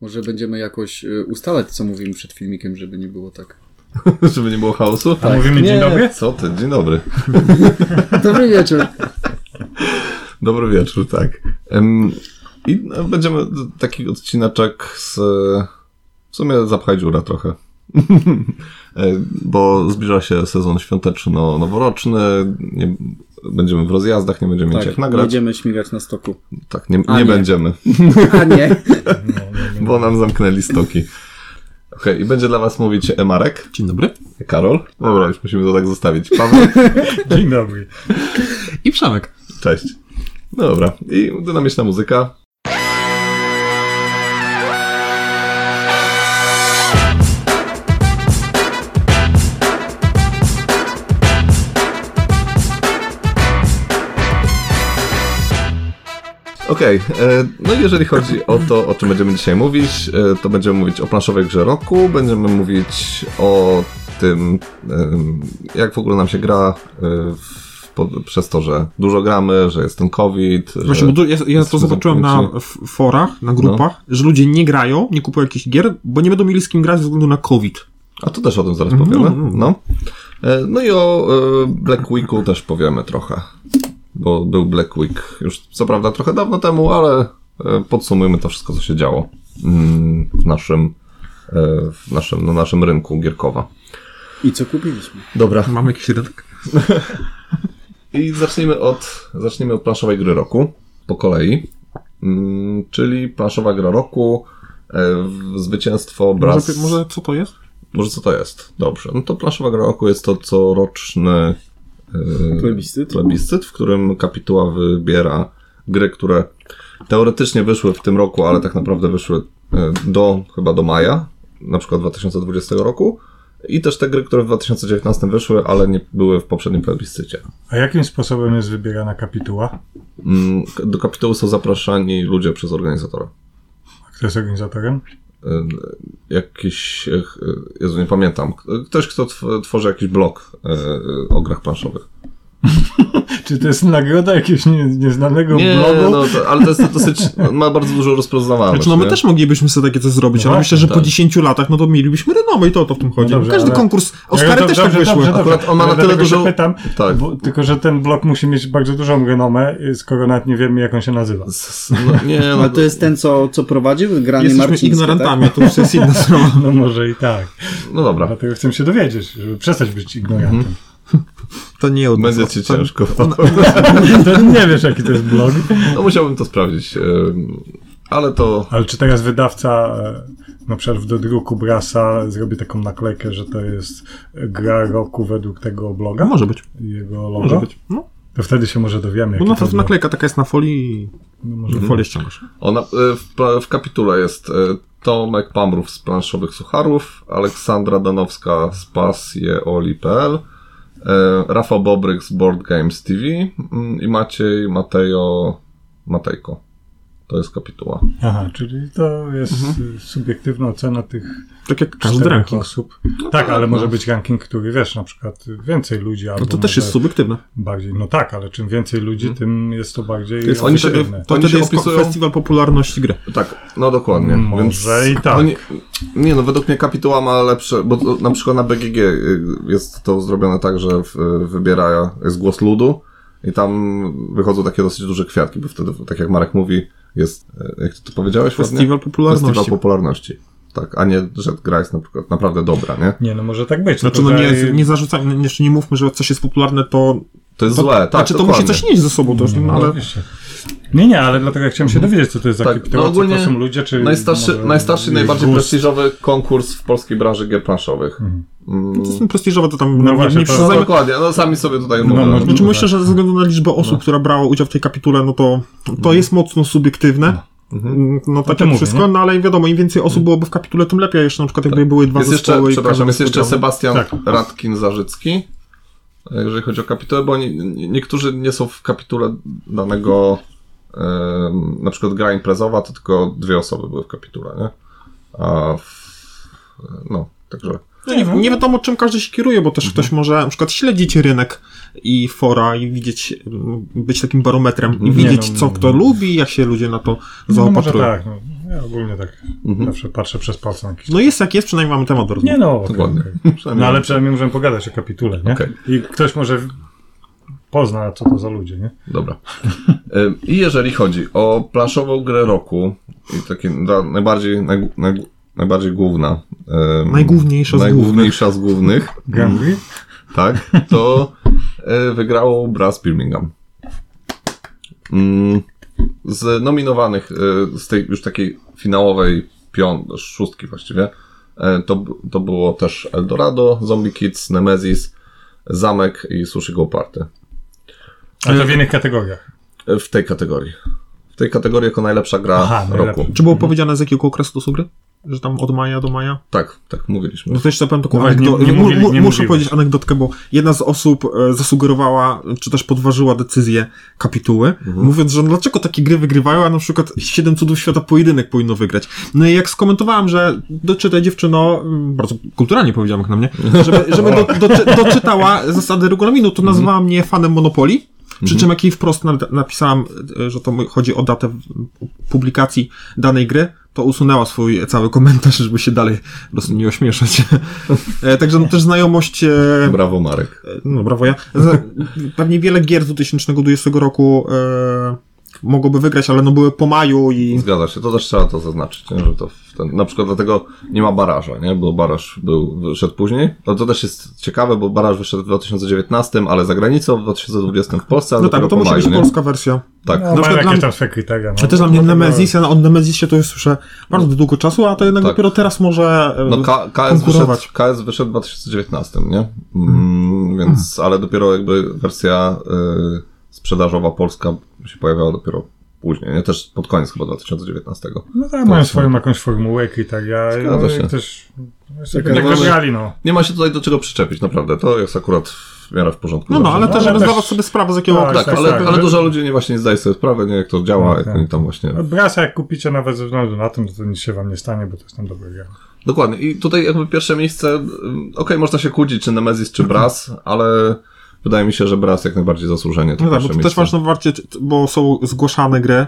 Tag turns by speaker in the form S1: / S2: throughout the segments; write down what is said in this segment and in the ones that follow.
S1: Może będziemy jakoś y, ustalać, co mówimy przed filmikiem, żeby nie było tak.
S2: Żeby nie było chaosu?
S3: A mówimy dzień
S1: Nie.
S3: dobry?
S2: Co ty? Dzień dobry.
S1: Dobry wieczór.
S2: Dobry wieczór, tak. Em, I no, będziemy taki odcinaczek z... e, W sumie zapchaj dziura trochę. E, Bo zbliża się sezon świąteczno-noworoczny, nie, będziemy w rozjazdach, nie będziemy mieć jak
S1: Tak,
S2: nagrać.
S1: będziemy śmigać na stoku.
S2: Tak, nie,
S1: A
S2: nie
S1: nie.
S2: będziemy.
S1: A nie.
S2: Bo nam zamknęli stoki. Okej, i będzie dla was mówić Emarek,
S4: Dzień dobry.
S2: Karol. Dobra, już musimy to tak zostawić. Paweł,
S3: Dzień dobry.
S4: I Przemek.
S2: cześć. No Dobra, i dynamiczna muzyka. Okej, e, no i jeżeli chodzi o to, o czym będziemy dzisiaj mówić, e, to będziemy mówić o planszowej grze roku, będziemy mówić o tym, em, jak w ogóle nam się gra e, w, po, przez to, że dużo gramy, że jest ten COVID. że-
S4: Właśnie, bo du- ja, ja to
S2: Jesteśmy
S4: zobaczyłem na
S2: zamknięci.
S4: f- forach, na grupach,
S2: No.
S4: że ludzie nie grają, nie kupują jakichś gier, bo nie będą mieli z kim grać ze względu na COVID.
S2: A to też o tym zaraz
S4: No,
S2: powiemy.
S4: no, no.
S2: No, E, no i o e, Black Weeku też powiemy trochę, bo był Black Week już co prawda trochę dawno temu, ale e, podsumujmy to wszystko, co się działo mm, w naszym, e, w naszym, na naszym rynku Gierkowa.
S1: I co kupiliśmy?
S2: Dobra.
S4: Mamy jakiś rynek?
S2: I zacznijmy od, zacznijmy od planszowej gry roku po kolei. Mm, czyli planszowa gra roku, e, w- zwycięstwo Braz...
S4: Może, może co to jest?
S2: Może co to jest? Dobrze. No to planszowa gra roku jest to coroczny e,
S1: Plebiscyt?
S2: plebiscyt, w którym kapituła wybiera gry, które teoretycznie wyszły w tym roku, ale tak naprawdę wyszły e, do chyba do maja, na przykład 2020 roku. I też te gry, które w 2019 wyszły, ale nie były w poprzednim plebiscycie.
S3: A jakim sposobem jest wybierana kapituła?
S2: Mm, k- Do kapitułu są zapraszani ludzie przez organizatora.
S3: A kto jest organizatorem?
S2: Y, Jakiś, y, Jezu, nie pamiętam. Ktoś, kto tw- tworzy jakiś blog y, y, o grach planszowych.
S3: Czy to jest nagroda jakiegoś nie, nieznanego
S2: Nie,
S3: blogu?
S2: no, to, ale to jest dosyć, on ma bardzo dużą rozpoznawalność.
S4: Znaczy, no my
S2: nie?
S4: też moglibyśmy sobie takie coś zrobić,
S3: No
S4: ale myślę, że
S2: tak.
S4: po 10 latach, no to mielibyśmy renomę i to o to w tym chodzi.
S3: No dobrze,
S4: Każdy
S3: ale-
S4: konkurs, Oscary
S3: dobrze,
S4: też tak
S3: dobrze,
S4: wyszły.
S3: dobrze, dobrze.
S2: Akurat on ma
S3: Ale
S2: na tyle
S3: dlatego się
S2: dużą-
S3: Pytam,
S2: Tak.
S3: bo, tylko, że ten blog musi mieć bardzo dużą renomę, y, skoro nawet nie wiemy, jak on się nazywa.
S2: S- s- No, nie, no,
S1: A to jest ten, co, co prowadził tak? granie
S4: Jesteśmy
S1: Marcińskie,
S4: ignorantami,
S2: tak?
S4: a to już jest inna sprawa.
S3: No może i tak.
S2: no dobra.
S3: Dlatego chcę się dowiedzieć, żeby przestać być ignorantem.
S4: To nie od nas.
S2: Będzie ci
S4: To-
S2: ciężko. Mhm.
S3: To nie wiesz, jaki to jest blog.
S2: No musiałbym to sprawdzić. ym, Ale to.
S3: Ale czy teraz wydawca e, na przykład w dodruku Brasa zrobi taką naklejkę, że to jest gra roku według tego bloga?
S4: Może być,
S3: I Jego logo?
S4: może być. No,
S3: To wtedy się może dowiemy.
S4: bo
S3: jaki
S4: na
S3: to
S4: przykład
S3: blog.
S4: naklejka taka jest na folii i
S3: No, może...
S4: folię ściągasz.
S2: Ona, y, w, pla- w kapitule jest y, Tomek Pamrów z planszowych sucharów, Aleksandra Danowska z pasjeoli.pl, y, Rafał Bobryk z Board Games TV mm, i Maciej Matejo Matejko. To jest kapituła.
S3: Aha, czyli to jest y, subiektywna ocena tych
S4: Tak jak każdy
S3: czterech
S4: Mhm. ranking.
S3: osób. tak,
S2: tak,
S3: ale
S2: no.
S3: może być ranking, który wiesz, na przykład y, więcej ludzi albo
S4: No to też
S3: może
S4: jest subiektywne.
S3: bardziej. No tak, ale czym więcej ludzi, tym jest to bardziej
S4: To jest
S2: oni
S4: wtedy,
S3: obiektywne.
S4: to
S2: oni
S4: wtedy
S2: się
S4: jest ko-
S2: opisują-
S4: festiwal popularności gry.
S2: Tak, no dokładnie.
S3: Może
S2: Więc
S3: i tak.
S2: Oni, nie no, według mnie kapituła ma lepsze, bo to, na przykład na BGG y, jest to zrobione tak, że w, wybiera, jest głos ludu i tam wychodzą takie dosyć duże kwiatki, bo wtedy, tak jak Marek mówi, jest, y, jak ty to powiedziałeś ładnie?
S4: Festiwal popularności.
S2: Festiwal popularności. Tak, a nie, że gra jest na przykład naprawdę dobra, nie?
S3: Nie, no może tak być.
S4: Znaczy,
S3: tylko
S4: no nie,
S3: że-
S4: nie zarzucajmy, nie- jeszcze nie mówmy, że coś jest popularne, to...
S2: To jest
S4: to
S2: złe, tak,
S4: Znaczy, to
S2: dokładnie. Mm.
S4: musi coś nieść ze sobą też, no,
S3: No,
S4: ale... Mhm.
S3: oczywiście. Nie, nie, ale dlatego ja chciałem się dowiedzieć, co to jest za
S2: Tak,
S3: tak,
S2: no
S3: co
S2: ogólnie
S3: to są ludzie, czy...
S2: Najstarszy,
S3: może
S2: najstarszy i
S3: ich
S2: najbardziej
S3: gust. Mhm.
S2: prestiżowy konkurs w polskiej branży gier planszowych. Mm,
S4: To jest prestiżowe, to tam nie,
S3: właśnie,
S4: nie
S3: to-
S2: No
S4: przyznajmy.
S2: dokładnie, no sami sobie tutaj
S3: No,
S2: mówią.
S3: no,
S4: Znaczy, myślę, że ze względu na liczbę osób, która brała udział w tej kapitule, no to
S2: Mm.
S4: to jest mocno subiektywne.
S2: Mhm.
S4: Mm, No tak
S3: tym
S4: jak
S3: mówię,
S4: wszystko,
S3: nie?
S4: no ale wiadomo, im więcej osób byłoby w kapitule, tym lepiej. Jeszcze na przykład jakby były dwa
S2: Mm. Tak. Jest jeszcze,
S4: zespoły i
S2: przepraszam,
S4: każdy
S2: jest jeszcze
S4: odpowiedział.
S2: Sebastian
S3: Tak.
S2: Radkin-Zarzycki, jeżeli chodzi o kapitułę, bo oni, nie- niektórzy nie są w kapitule danego, em, na przykład gra imprezowa, to tylko dwie osoby były w kapitule, nie? A w, no, także...
S4: No Nie,
S3: Mhm.
S4: nie wiadomo, czym każdy się kieruje, bo też ktoś może na przykład śledzić rynek i fora i widzieć, mm, być takim barometrem i
S3: Nie,
S4: widzieć,
S3: no,
S4: co
S3: no,
S4: kto lubi, jak się ludzie na to
S3: No, może
S4: zaopatrują.
S3: tak, no. Ja ogólnie tak
S4: Mhm.
S3: zawsze patrzę przez palce na jakieś...
S4: No jest jak jest, przynajmniej mamy temat do rozmowy.
S3: Nie no, okej,
S2: Dokładnie.
S3: okej.
S2: Przynajmniej-
S3: no ale przynajmniej możemy pogadać o kapitule, nie?
S2: Okej.
S3: I ktoś może w- pozna, co to za ludzie, nie?
S2: Dobra. Ym, I jeżeli chodzi o planszową grę roku, i takie na- najbardziej, najg- najg- najbardziej główna. ym,
S4: Najgłówniejsza z
S2: najgłówniejsza z głównych,
S3: Gambri?
S2: tak, to y, wygrało Brass Birmingham. Ym, Z nominowanych, y, z tej już takiej finałowej piąt, szóstki właściwie, y, to, b- to było też Eldorado, Zombie Kids, Nemesis, Zamek i Sushi Go Party. E,
S3: Ale to w innych kategoriach.
S4: No,
S2: W tej kategorii. W tej kategorii jako najlepsza gra
S3: Aha,
S2: roku.
S3: najlepsza.
S4: Czy było powiedziane z jakiego okresu to są gry? Że tam od maja do maja?
S2: Tak, tak, mówiliśmy.
S4: No to jeszcze powiem taką
S3: No właśnie,
S4: anegdo-
S3: nie- nie
S4: mu-
S3: mówili-
S4: mu-
S3: nie
S4: Muszę
S3: mówiłeś.
S4: powiedzieć anegdotkę, bo jedna z osób e, zasugerowała, czy też podważyła decyzję kapituły,
S3: Mhm.
S4: mówiąc, że no dlaczego takie gry wygrywają, a na przykład Siedem Cudów Świata pojedynek powinno wygrać. No i jak skomentowałem, że doczytaj dziewczyno, mm, bardzo kulturalnie powiedziałem jak na mnie, żeby, żeby do, doczy, doczytała zasady regulaminu, to
S3: Mhm.
S4: nazwała mnie fanem Monopoli. Przy
S2: Mhm.
S4: czym jak jej wprost na, napisałam, e, że to mu- chodzi o datę w- publikacji danej gry, to usunęła swój cały komentarz, żeby się dalej po prostu nie ośmieszać. E, Także no, też znajomość, e,
S2: Brawo, Marek.
S4: no brawo ja, Za- pewnie wiele gier z 2020 roku e, mogłoby wygrać, ale no były po maju i
S2: Zgadza się, to też trzeba to zaznaczyć, nie? że to w ten, na przykład dlatego nie ma baraża, nie? bo baraż był, wyszedł później. No to też jest ciekawe, bo baraż wyszedł w 2019, ale za granicą, w 2020 w Polsce, ale
S4: no tak,
S2: dopiero
S4: to
S2: po
S4: musi
S2: maju,
S4: być
S2: nie?
S4: polska wersja.
S2: Tak,
S3: No, mają
S4: przykład
S3: jakieś
S4: dla-
S3: tam swoje kryteria.
S4: A
S3: No.
S4: też dla mnie
S3: Dlatego-
S4: Nemesis, ja na- o Nemesisie to już słyszę bardzo długo czasu, a to jednak
S2: No. Tak.
S4: dopiero teraz może e,
S2: No K- KS, wyszedł,
S4: konkurować.
S2: KS wyszedł w 2019, nie? Mm, więc, ale dopiero jakby wersja y, sprzedażowa polska się pojawiała dopiero później, nie? Też pod koniec chyba 2019.
S3: No tak, mają swoją jakąś formułę kryteria.
S2: Zgadza
S3: No,
S2: się.
S3: i też... Tak,
S2: no,
S3: tak
S2: może-
S3: wybrali, no.
S2: Nie ma się tutaj do czego przyczepić, naprawdę. To jest akurat w miarę w porządku.
S4: No no,
S2: zawsze.
S4: ale też
S3: ale
S4: żeby
S3: też-
S4: zdawać sobie sprawę z jakiego
S3: Tak,
S2: Tak,
S4: okresu.
S2: ale,
S3: tak.
S2: ale dużo ludzi nie właśnie nie zdaje sobie sprawy, nie, jak to działa, jak
S3: tak.
S2: oni tam właśnie.
S3: Brasa jak kupicie nawet ze względu na to, to nic się wam nie stanie, bo to jest tam dobre gra.
S2: Dokładnie. I tutaj jakby pierwsze miejsce, mm, okej, można się kłócić, czy Nemesis, czy Brass, ale wydaje mi się, że Brass jak najbardziej zasłużenie. To
S4: No tak, bo
S2: pierwsze
S4: to
S2: miejsce.
S4: też masz na warcie, bo są zgłaszane gry.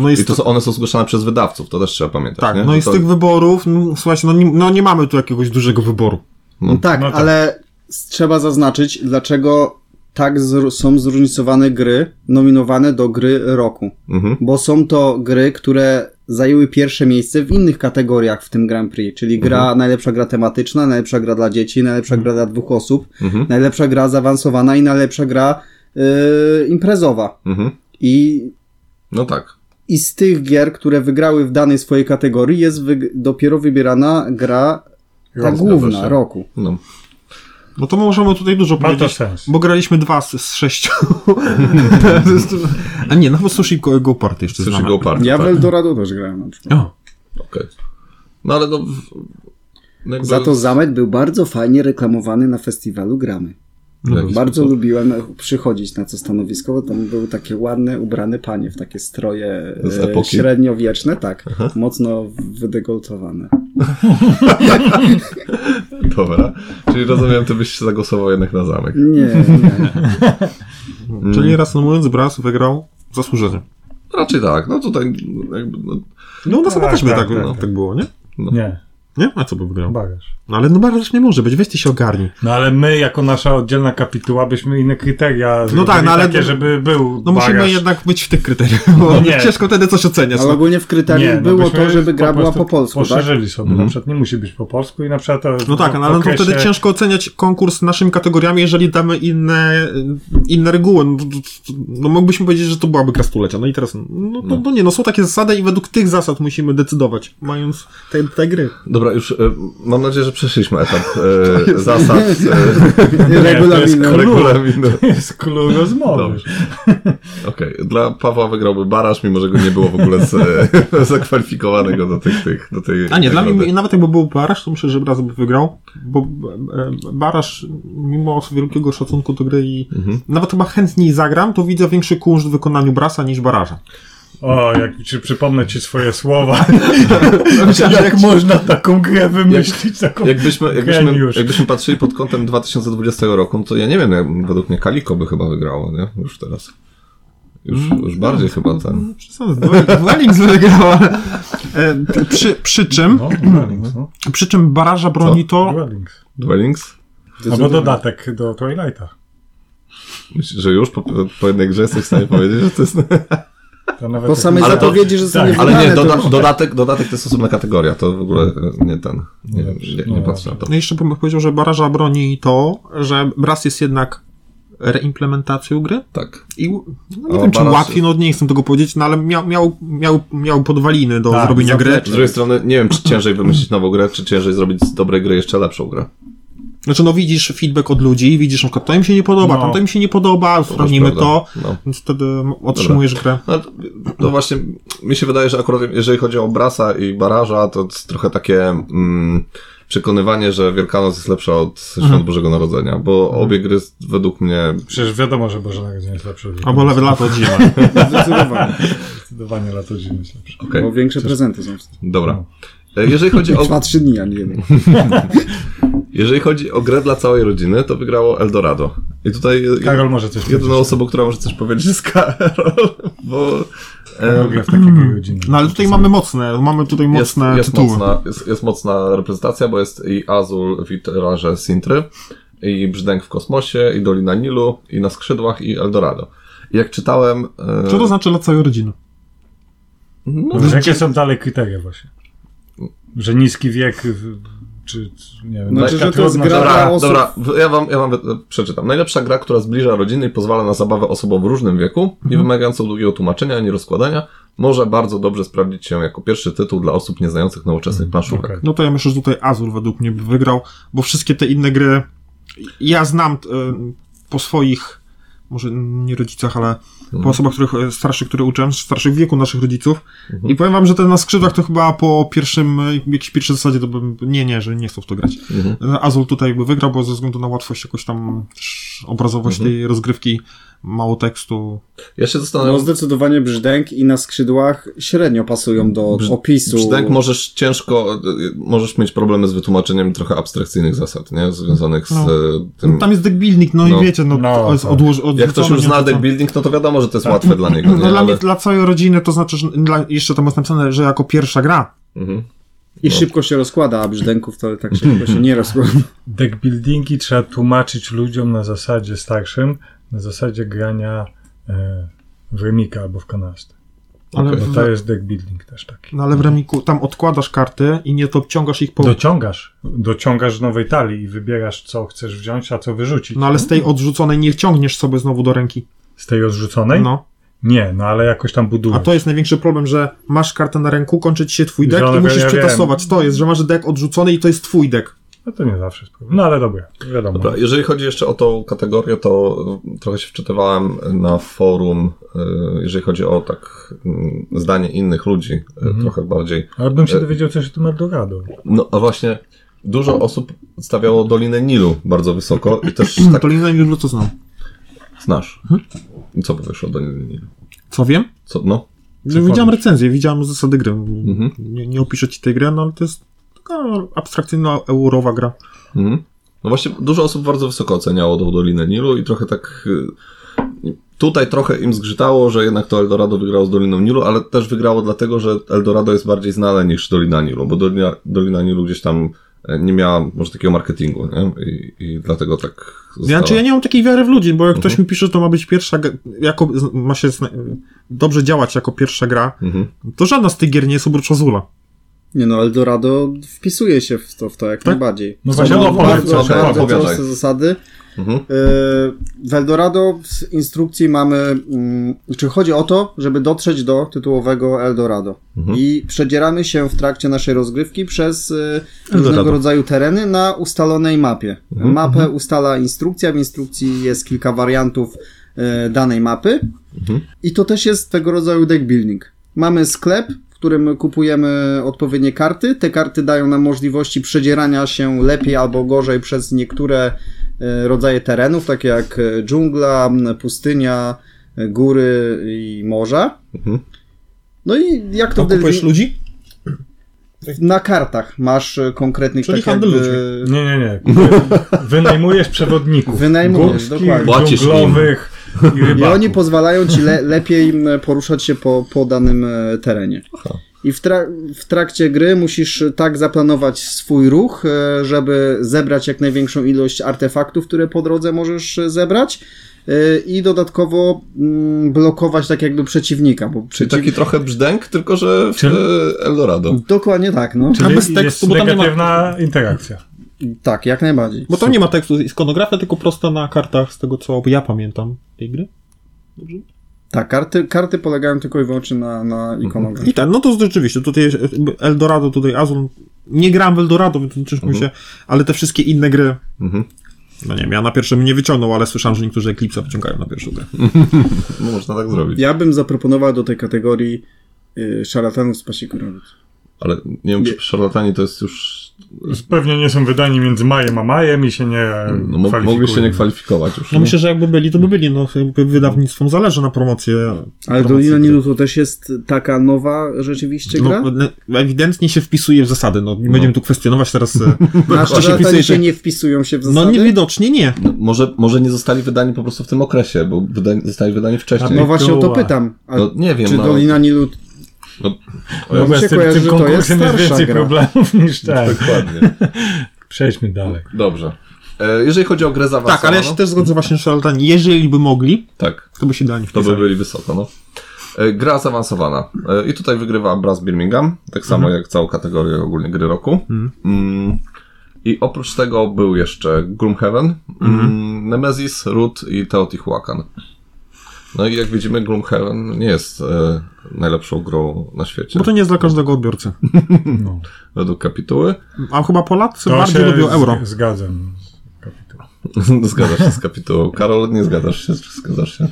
S4: No i
S2: I
S4: z,
S2: to są, one są zgłaszane przez wydawców, to też trzeba pamiętać.
S4: tak,
S2: nie?
S4: no
S2: Że
S4: i z
S2: to,
S4: tych wyborów, no, słuchajcie, no nie, no nie mamy tu jakiegoś dużego wyboru.
S1: No tak,
S3: No tak.
S1: ale s- trzeba zaznaczyć, dlaczego tak zr- są zróżnicowane gry nominowane do gry roku.
S2: Mhm.
S1: Bo są to gry, które zajęły pierwsze miejsce w innych kategoriach w tym Grand Prix, czyli
S2: Mhm.
S1: gra najlepsza gra tematyczna, najlepsza gra dla dzieci, najlepsza gra dla dwóch osób,
S2: Mhm.
S1: najlepsza gra zaawansowana i najlepsza gra yy, imprezowa.
S2: Mhm.
S1: I
S2: No tak.
S1: i z tych gier, które wygrały w danej swojej kategorii, jest wyg- dopiero wybierana gra ta
S2: Zgadza się.
S1: główna roku.
S2: No.
S4: No to możemy tutaj dużo
S3: Ma to
S4: powiedzieć,
S3: sens.
S4: bo graliśmy dwa z, z sześciu. A nie, no bo Sushi Go, go Party jeszcze
S2: Słyszy
S4: znamy.
S2: go party,
S1: Ja w
S2: tak.
S1: Eldorado też grałem na przykład.
S4: O,
S2: Okej. No ale no. w- no jakby-
S1: Za to zamek był bardzo fajnie reklamowany na festiwalu Gramy.
S2: w jakiś
S1: Bardzo
S2: sposób.
S1: lubiłem przychodzić na to stanowisko, bo tam były takie ładne, ubrane panie w takie stroje
S2: Z
S1: e,
S2: epoki?
S1: średniowieczne, tak, mocno wydegoltowane.
S2: Dobra. Czyli rozumiem, ty byś zagłosował jednak na zamek. Mm.
S1: Nie, nie.
S3: Mm.
S4: czyli reasumując, Brass wygrał zasłużenie.
S2: Raczej tak. No tutaj jakby, no,
S4: No u nas chyba
S3: Tak,
S4: też by
S3: tak,
S4: tak,
S3: tak,
S4: no,
S3: tak.
S4: tak było, nie?
S3: Nie,
S4: Nie? A co by wygrał?
S3: bagaż.
S4: No ale no bardzo nie może być, weź ty się ogarnij.
S3: No ale my, jako nasza oddzielna kapituła, byśmy inne kryteria no
S4: tak, no ale-
S3: takie, żeby był
S4: No musimy
S3: bagaż. No
S4: jednak być w tych kryteriach, bo
S3: nie.
S4: ciężko wtedy coś oceniać.
S1: Ale
S4: No.
S1: ogólnie w kryterium
S3: no
S1: Tak, było
S3: byśmy
S1: to, żeby gra była
S3: prostu
S1: po polsku, tak?
S3: Poszerzyli sobie, na przykład nie musi być po polsku i na przykład to
S4: No tak, no, ale
S3: okresie...
S4: to wtedy ciężko oceniać konkurs naszymi kategoriami, jeżeli damy inne, inne reguły. No, to- to- to- no moglibyśmy powiedzieć, że to byłaby gra stulecia. No i teraz, no to, to nie, no są takie zasady i według tych zasad musimy decydować, mając te, te gry.
S2: Dobra, już e, mam nadzieję, że przeszliśmy etap e, zasad
S1: Regulaminu.
S3: to jest król.
S2: regulaminu.
S3: Jest klucz rozmowy.
S2: No. Dobrze. Okej, dla Pawła wygrałby baraż, mimo że go nie było w ogóle z, e, zakwalifikowanego do tych, tych do tej
S4: A nie, dla
S2: nagrody.
S4: mnie, nawet jakby był Barasz, to myślę, że Braz by wygrał, bo e, Barasz, mimo wielkiego szacunku do gry i nawet chyba chętniej zagram, to widzę większy kunszt w wykonaniu Brasa niż Baraża.
S3: O, jak ci przypomnę ci swoje słowa.
S4: Myślałem, że
S3: jak można taką grę wymyślić? Taką...
S2: Jakbyśmy, jakbyśmy,
S3: Geniusz.
S2: jakbyśmy patrzyli pod kątem 2020 roku, no to ja nie wiem, jak, według mnie Kaliko by chyba wygrało, nie? Już teraz. Już, już bardziej chyba ten.
S4: Przesadzam, Welings wygrał, ale... E, p- Przy, przy czym,
S3: No, Dwellings, no.
S4: przy czym baraża broni to...
S3: Dwellings.
S2: Dwellings?
S3: Albo dodatek do Twilighta.
S2: Myślisz, że już po, po jednej grze jesteś w stanie powiedzieć, że to jest...
S3: To nawet
S1: Po samej
S2: Ale to-
S1: zapowiedzi, że
S3: tak,
S1: zostanie
S2: No Ale nie,
S1: wydane, to-
S2: doda dodatek, dodatek to jest osobna kategoria, to w ogóle e, nie ten, nie, nie, nie patrzę na to.
S4: No i jeszcze bym powiedział, że baraża broni to, że raz jest jednak reimplementacją gry
S2: Tak.
S4: i no nie
S2: O,
S4: wiem czy
S2: baraż-
S4: łatwiej, no nie chcę tego powiedzieć, no ale miał, miał, miał, miał podwaliny do
S3: Tak,
S4: zrobienia gry.
S2: Z drugiej strony, nie wiem, czy ciężej wymyślić nową grę, czy ciężej zrobić z dobrej gry jeszcze lepszą grę.
S4: Znaczy no widzisz feedback od ludzi, widzisz na przykład to im się nie podoba,
S3: No.
S4: tamto im się nie podoba, sprawdzimy
S2: prawda.
S4: to,
S2: No.
S4: więc wtedy otrzymujesz grę.
S2: No, no właśnie, mi się wydaje, że akurat jeżeli chodzi o Brasa i Baraża, to jest trochę takie mm, przekonywanie, że Wielkanoc jest lepsza od Świąt Bożego Narodzenia, bo obie gry z- według mnie...
S3: Przecież wiadomo, że Boże Narodzenie jest lepsze. od
S4: Albo
S3: Wielkanocy.
S4: level up od zima.
S1: Zdecydowanie.
S3: Zdecydowanie lato zimy jest lepsze.
S2: Okej,
S1: Bo większe prezenty są.
S2: dobra. E, Jeżeli chodzi, o,
S1: Trwa trzy dni, a nie jeden.
S2: jeżeli chodzi o grę dla całej rodziny, to wygrało Eldorado. I tutaj je-
S3: Karol może coś powiedzieć.
S2: jedyną osobą, która może coś powiedzieć jest Karol, bo...
S3: Ja
S2: em,
S3: lubię w takiej godzinie.
S4: No ale tutaj mamy mocne, mamy tutaj mocne
S2: jest, jest
S4: tytuły.
S2: mocna, jest, jest mocna reprezentacja, bo jest i Azul w Iterarze Sintry, i Brzdęk w kosmosie, i Dolina Nilu, i na skrzydłach, i Eldorado. I jak czytałem... e,
S4: Co to znaczy dla całej rodziny?
S2: No,
S3: Dobrze, jakie są dalej kryteria właśnie? Że niski wiek, w- czy czy nie wiem,
S1: Znaczy,
S3: lekka
S1: że to jest
S3: trudność-
S1: gra-
S2: Dobra,
S1: dla osób-
S2: dobra, w- ja wam, ja wam wy- przeczytam. Najlepsza gra, która zbliża rodziny i pozwala na zabawę osobom w różnym wieku,
S4: Mhm.
S2: nie wymagającą długiego tłumaczenia ani rozkładania, może bardzo dobrze sprawdzić się jako pierwszy tytuł dla osób nieznających nowoczesnych planszówek.
S3: Okej.
S4: No to ja myślę, że tutaj Azur według mnie by wygrał, bo wszystkie te inne gry ja znam t- y, po swoich, może nie rodzicach, ale
S2: Mhm.
S4: po osobach których, y, starszych, które uczyłem, starszych wieku naszych rodziców
S2: Mhm.
S4: i powiem wam, że ten na skrzydłach to chyba po pierwszym, y, jakiejś pierwszej zasadzie to bym, nie, nie, że nie chcą w to grać.
S2: Mhm.
S4: Y, Azul tutaj by wygrał, bo ze względu na łatwość jakoś tam też obrazowość
S2: Mhm.
S4: tej rozgrywki, mało tekstu.
S2: Ja się zastanawiam,
S1: No zdecydowanie brzdęk i na skrzydłach średnio pasują do
S2: Brz-
S1: opisu.
S2: Brzdęk tak możesz ciężko, y, możesz mieć problemy z wytłumaczeniem trochę abstrakcyjnych zasad, nie? Związanych z
S4: No.
S2: y,
S4: No,
S2: tym.
S4: tam jest deck building, no,
S2: No.
S4: i wiecie, no,
S3: No,
S4: to jest
S3: tak.
S4: odłoż, odrzucone,
S2: Jak ktoś już
S4: nie
S2: zna
S4: odrzucone.
S2: deck building, no to wiadomo, że to jest łatwe dla niego.
S4: No,
S2: Nie?
S4: dla, mnie,
S2: Ale...
S4: dla całej rodziny to znaczy, że dla, jeszcze tam jest napisane, że jako pierwsza gra.
S2: Mhm.
S1: I szybko się rozkłada, a brzdęków to tak szybko się nie rozkłada.
S3: Deckbuildingi trzeba tłumaczyć ludziom na zasadzie starszym, na zasadzie grania e, w remika albo w kanastę.
S4: Ale,
S2: Okej.
S3: Bo
S4: w,
S3: to jest deckbuilding też taki.
S4: no, ale w
S2: Mhm.
S4: remiku tam odkładasz karty i nie to obciągasz ich po.
S3: Dociągasz, dociągasz z nowej talii i wybierasz co chcesz wziąć, a co wyrzucić.
S4: No ale z tej odrzuconej nie ciągniesz sobie znowu do ręki.
S3: Z tej odrzuconej?
S4: No.
S3: Nie, no ale jakoś tam budujesz.
S4: A to jest największy problem, że masz kartę na ręku, kończy ci się twój deck
S3: Zielone,
S4: i musisz
S3: ja wiem.
S4: przetasować. To jest, że masz deck odrzucony i to jest twój deck.
S3: No to nie zawsze jest problem. No ale dobra, wiadomo.
S2: Dobra, jeżeli chodzi jeszcze o tą kategorię, to y, trochę się wczytywałem na forum, y, jeżeli chodzi o tak mm, zdanie innych ludzi, y,
S4: Mhm.
S2: trochę bardziej.
S3: Ale bym się dowiedział coś o tym Eldorado.
S2: No a właśnie, dużo osób stawiało Dolinę Nilu bardzo wysoko i też tak
S4: To Lina Nilu to znam.
S2: znasz.
S4: Mhm.
S2: I co powiesz o Dolinie Nilu?
S4: Co wiem?
S2: Co, no?
S4: widziałem recenzję, widziałem zasady gry.
S2: Mhm.
S4: Nie, nie opiszę ci tej gry, no ale to jest taka abstrakcyjna, eurowa gra.
S2: Mhm. No właśnie, dużo osób bardzo wysoko oceniało tą Dolinę Nilu i trochę tak. y, Tutaj trochę im zgrzytało, że jednak to Eldorado wygrało z Doliną Nilu, ale też wygrało dlatego, że Eldorado jest bardziej znane niż Dolina Nilu, bo Dolina, Dolina Nilu gdzieś tam e, nie miała może takiego marketingu, nie? I, i dlatego tak
S4: Ja,
S2: została.
S4: znaczy, ja nie mam takiej wiary w ludzi, bo jak ktoś mi pisze, że to ma być pierwsza, gra- jako, ma się zna- dobrze działać jako pierwsza gra,
S2: Mhm.
S4: to żadna z tych gier nie jest oprócz Azula.
S1: Nie no, Eldorado wpisuje się w to, w to jak najbardziej.
S3: No
S1: Są
S3: właśnie,
S1: bardzo,
S3: no opowiedz,
S1: bardzo,
S2: okej,
S1: bardzo
S2: opowiadaj.
S1: proste zasady.
S2: Mhm.
S1: Yy, W Eldorado w instrukcji mamy, mm, czy chodzi o to, żeby dotrzeć do tytułowego Eldorado.
S3: Mhm.
S1: I przedzieramy się w trakcie naszej rozgrywki przez yy, różnego rodzaju tereny na ustalonej mapie. Mapę ustala instrukcja, w instrukcji jest kilka wariantów yy, danej mapy. I to też jest tego rodzaju deck building. Mamy sklep, w którym kupujemy odpowiednie karty. Te karty dają nam możliwości przedzierania się lepiej albo gorzej przez niektóre e, rodzaje terenów, takie jak e, dżungla, m, pustynia, e, góry i morza.
S2: Mhm.
S1: No i jak to
S4: Tam
S1: w deck
S4: kupujesz ludzi?
S1: na kartach masz e, konkretnych
S4: Czyli
S1: tak
S4: handel
S1: jakby...
S3: Nie, nie, nie. Wynajmujesz przewodników.
S1: Wynajmujesz, dokładnie.
S2: Płacisz im.
S3: dżunglowych i
S1: I
S3: rybaków.
S1: mm, oni pozwalają ci le, lepiej m, poruszać się po, po danym e, terenie. I w, tra- w trakcie gry musisz tak zaplanować swój ruch, e, żeby zebrać jak największą ilość artefaktów, które po drodze możesz e, zebrać. e, I dodatkowo mm, blokować tak jakby przeciwnika, bo
S2: Czyli
S1: przeciw...
S2: taki trochę brzdęk, tylko że w
S3: Czy-
S2: e, Eldorado.
S1: Dokładnie tak, no.
S4: A
S3: Czyli
S4: bez tekstu,
S3: jest
S4: bo tam nie ma-
S3: negatywna interakcja.
S1: Tak, jak najbardziej.
S4: Bo tam nie ma tekstu, jest ikonografia, tylko prosta na kartach, z tego co ja pamiętam tej gry. Dobrze?
S1: Tak, karty, karty polegają tylko i wyłącznie na, na ikonografii.
S4: I tak, no to rzeczywiście, tutaj jest Eldorado, tutaj Azul. Nie grałem w Eldorado, więc ciężko mi się, ale te wszystkie inne gry,
S2: Mhm.
S4: no nie wiem, ja na pierwszym nie wyciągnął, ale słyszałem, że niektórzy Eclipse wyciągają na pierwszą grę.
S2: No, można tak zrobić.
S1: Ja bym zaproponował do tej kategorii y, szaratanów z pasikurowic.
S2: Ale nie wiem, czy szarlatani to jest już...
S3: Pewnie nie są wydani między majem a majem i się nie
S2: No, mo-
S3: kwalifikują.
S2: mogli się nie kwalifikować już.
S4: No myślę, że jakby byli, to by byli, no jakby wydawnictwom zależy na promocję.
S1: Ale
S4: promocję
S1: Dolina
S4: gry.
S1: Nilu to też jest taka nowa rzeczywiście gra?
S4: No, no, ewidentnie się wpisuje w zasady, no nie będziemy tu kwestionować teraz. e,
S1: Na
S4: czy się
S1: szaratani
S4: wpisuje,
S1: się
S4: czy...
S1: nie wpisują się w
S4: No
S1: zasady?
S4: niewidocznie nie.
S2: No, może, może nie zostali wydani po prostu w tym okresie, bo wyda... zostali wydani wcześniej.
S1: no
S3: nie
S1: właśnie o to
S3: czuła.
S1: pytam. A
S2: No, nie wiem,
S1: czy
S2: no.
S1: Dolina Nilu...
S4: no
S3: W ogóle
S1: Mi się
S3: z tym,
S1: kojarzy,
S3: tym
S1: że to jest
S3: konkursem jest,
S1: starsza
S3: więcej
S1: gra.
S3: problemów niż ten.
S2: No, Dokładnie.
S3: Przejdźmy dalej.
S2: Dobrze. E, Jeżeli chodzi o grę zaawansowaną...
S4: Tak, ale ja się też zgodzę właśnie, że Altani, jeżeli by mogli,
S2: Tak.
S4: to by się dali
S2: To by
S4: wpisać.
S2: byli wysoko, no. E, Gra zaawansowana. E, I tutaj wygrywa Brass Birmingham, tak samo
S4: Mhm.
S2: jak całą kategorię ogólnie gry roku. Mm. I oprócz tego był jeszcze Gloomhaven,
S4: Mhm.
S2: mm. Nemesis, Root i Teotihuacan. No i jak widzimy, Gloomhaven nie jest e, najlepszą grą na świecie,
S4: Bo to nie jest dla każdego odbiorcy.
S3: No.
S2: według kapituły.
S4: A chyba Polacy
S3: To
S4: bardziej
S3: się
S4: lubią euro.
S3: Z, zgadzam. z kapitułem.
S2: zgadzasz się z kapitułą. Karol, nie zgadzasz się, czy zgadzasz się?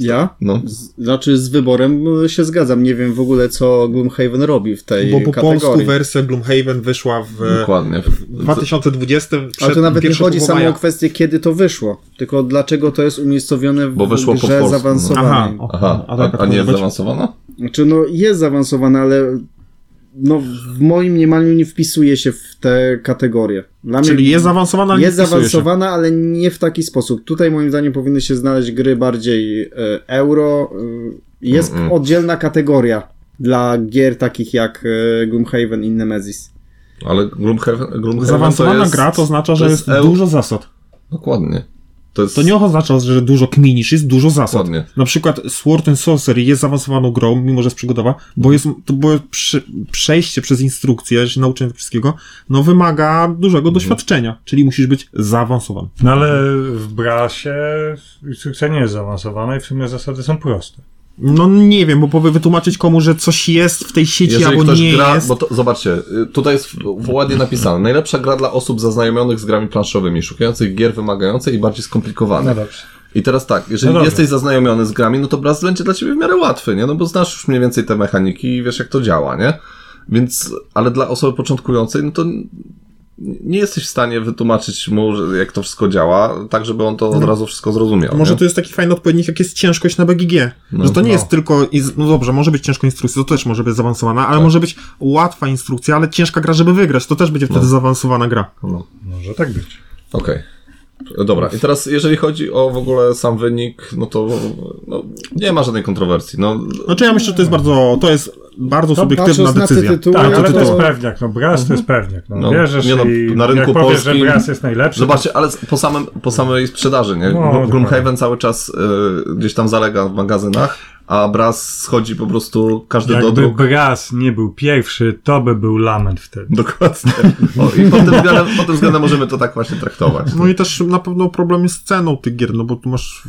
S1: Ja?
S2: No.
S1: Z, znaczy z wyborem y, się zgadzam. Nie wiem w ogóle, co Gloomhaven robi w tej
S4: Bo po
S1: kategorii.
S4: polsku wersja Gloomhaven wyszła w
S2: Dokładnie.
S4: e, w 2020.
S1: Ale
S4: przed
S1: to nawet nie
S4: pierwszym
S1: chodzi
S4: połową
S1: samo
S4: maja.
S1: o kwestię, kiedy to wyszło, tylko dlaczego to jest umiejscowione w
S2: Bo wyszło po
S1: grze
S2: polsku. no.
S1: zaawansowanej.
S4: Aha, o,
S2: Aha,
S4: a, tak,
S2: a, a nie jest
S4: być.
S2: zaawansowana?
S1: Znaczy, no jest zaawansowane, ale no, w moim mniemaniu nie wpisuje się w te kategorie. Dla mnie
S4: Czyli jest zaawansowana, ale
S1: jest
S4: No, nie wpisuje się.
S1: zaawansowana, ale nie w taki sposób. Tutaj moim zdaniem powinny się znaleźć gry bardziej e, euro. e, Jest
S2: Mm-mm.
S1: oddzielna kategoria dla gier takich jak e, Gloomhaven i Nemesis.
S2: Ale Gloomhaven, Gloomhaven
S4: Zaawansowana
S2: to jest...
S4: gra to oznacza, że
S2: to
S4: jest
S2: jest eu-
S4: dużo zasad.
S2: Dokładnie. To jest...
S4: To nie oznacza, że dużo kminisz, jest dużo zasad.
S2: Dokładnie.
S4: Na przykład Sword and Sorcery jest zaawansowaną grą, mimo że jest przygodowa, bo jest, to było przy, przejście przez instrukcję, że się nauczyłem wszystkiego, no wymaga
S2: Mhm.
S4: dużego doświadczenia, czyli musisz być zaawansowany.
S3: No ale w Brasie instrukcja nie jest zaawansowana i w sumie zasady są proste.
S4: No nie wiem, bo powiem wytłumaczyć komu, że coś jest w tej sieci
S2: Jeżeli
S4: albo
S2: ktoś
S4: nie
S2: gra,
S4: jest.
S2: bo to, zobaczcie, y, tutaj jest w- ładnie napisane. Najlepsza gra dla osób zaznajomionych z grami planszowymi, szukających gier wymagających i bardziej
S3: No
S2: skomplikowanych.
S3: dobrze.
S2: I teraz tak, jeżeli
S3: No dobra.
S2: jesteś zaznajomiony z grami, no to Braz będzie dla ciebie w miarę łatwy, nie? No bo znasz już mniej więcej te mechaniki i wiesz jak to działa, nie? Więc, ale dla osoby początkującej, no to n- nie jesteś w stanie wytłumaczyć mu, że- jak to wszystko działa, tak żeby on to od razu wszystko zrozumiał.
S4: Może
S2: nie?
S4: to jest taki fajny odpowiednik, jak jest ciężkość na BGG. że to nie
S3: no.
S4: jest tylko. iz- No dobrze, może być ciężka instrukcja, to też może być zaawansowana,
S2: Tak.
S4: ale może być łatwa instrukcja, ale ciężka gra, żeby wygrać. To też będzie wtedy zaawansowana gra.
S2: No.
S3: Może tak być.
S2: Okej. Dobra, i teraz jeżeli chodzi o w ogóle sam wynik, no to no, nie ma żadnej kontrowersji. No,
S4: Znaczy ja myślę, że to jest bardzo. To jest bardzo subiektywna
S1: Patrząc na te
S4: decyzja.
S1: tytuły,
S3: Tak, ale
S1: to,
S3: to jest pewniak. No Bras to jest pewniak. No,
S2: No,
S3: wierzysz
S2: nie no,
S3: i
S2: na rynku
S3: jak powiesz,
S2: polskim-
S3: że Bras jest najlepszy,
S2: zobaczcie, ale po, samym, po samej sprzedaży, nie?
S3: No,
S2: No, Gloomhaven
S3: dokładnie.
S2: cały czas y, gdzieś tam zalega w magazynach, a Braz schodzi po prostu każdy do
S3: jakby
S2: dróg.
S3: Bras nie był pierwszy, to by był lament wtedy.
S2: Dokładnie. O, I pod tym, względem, pod tym względem możemy to tak właśnie traktować.
S4: No i też na pewno problem jest z ceną tych gier, no bo tu masz.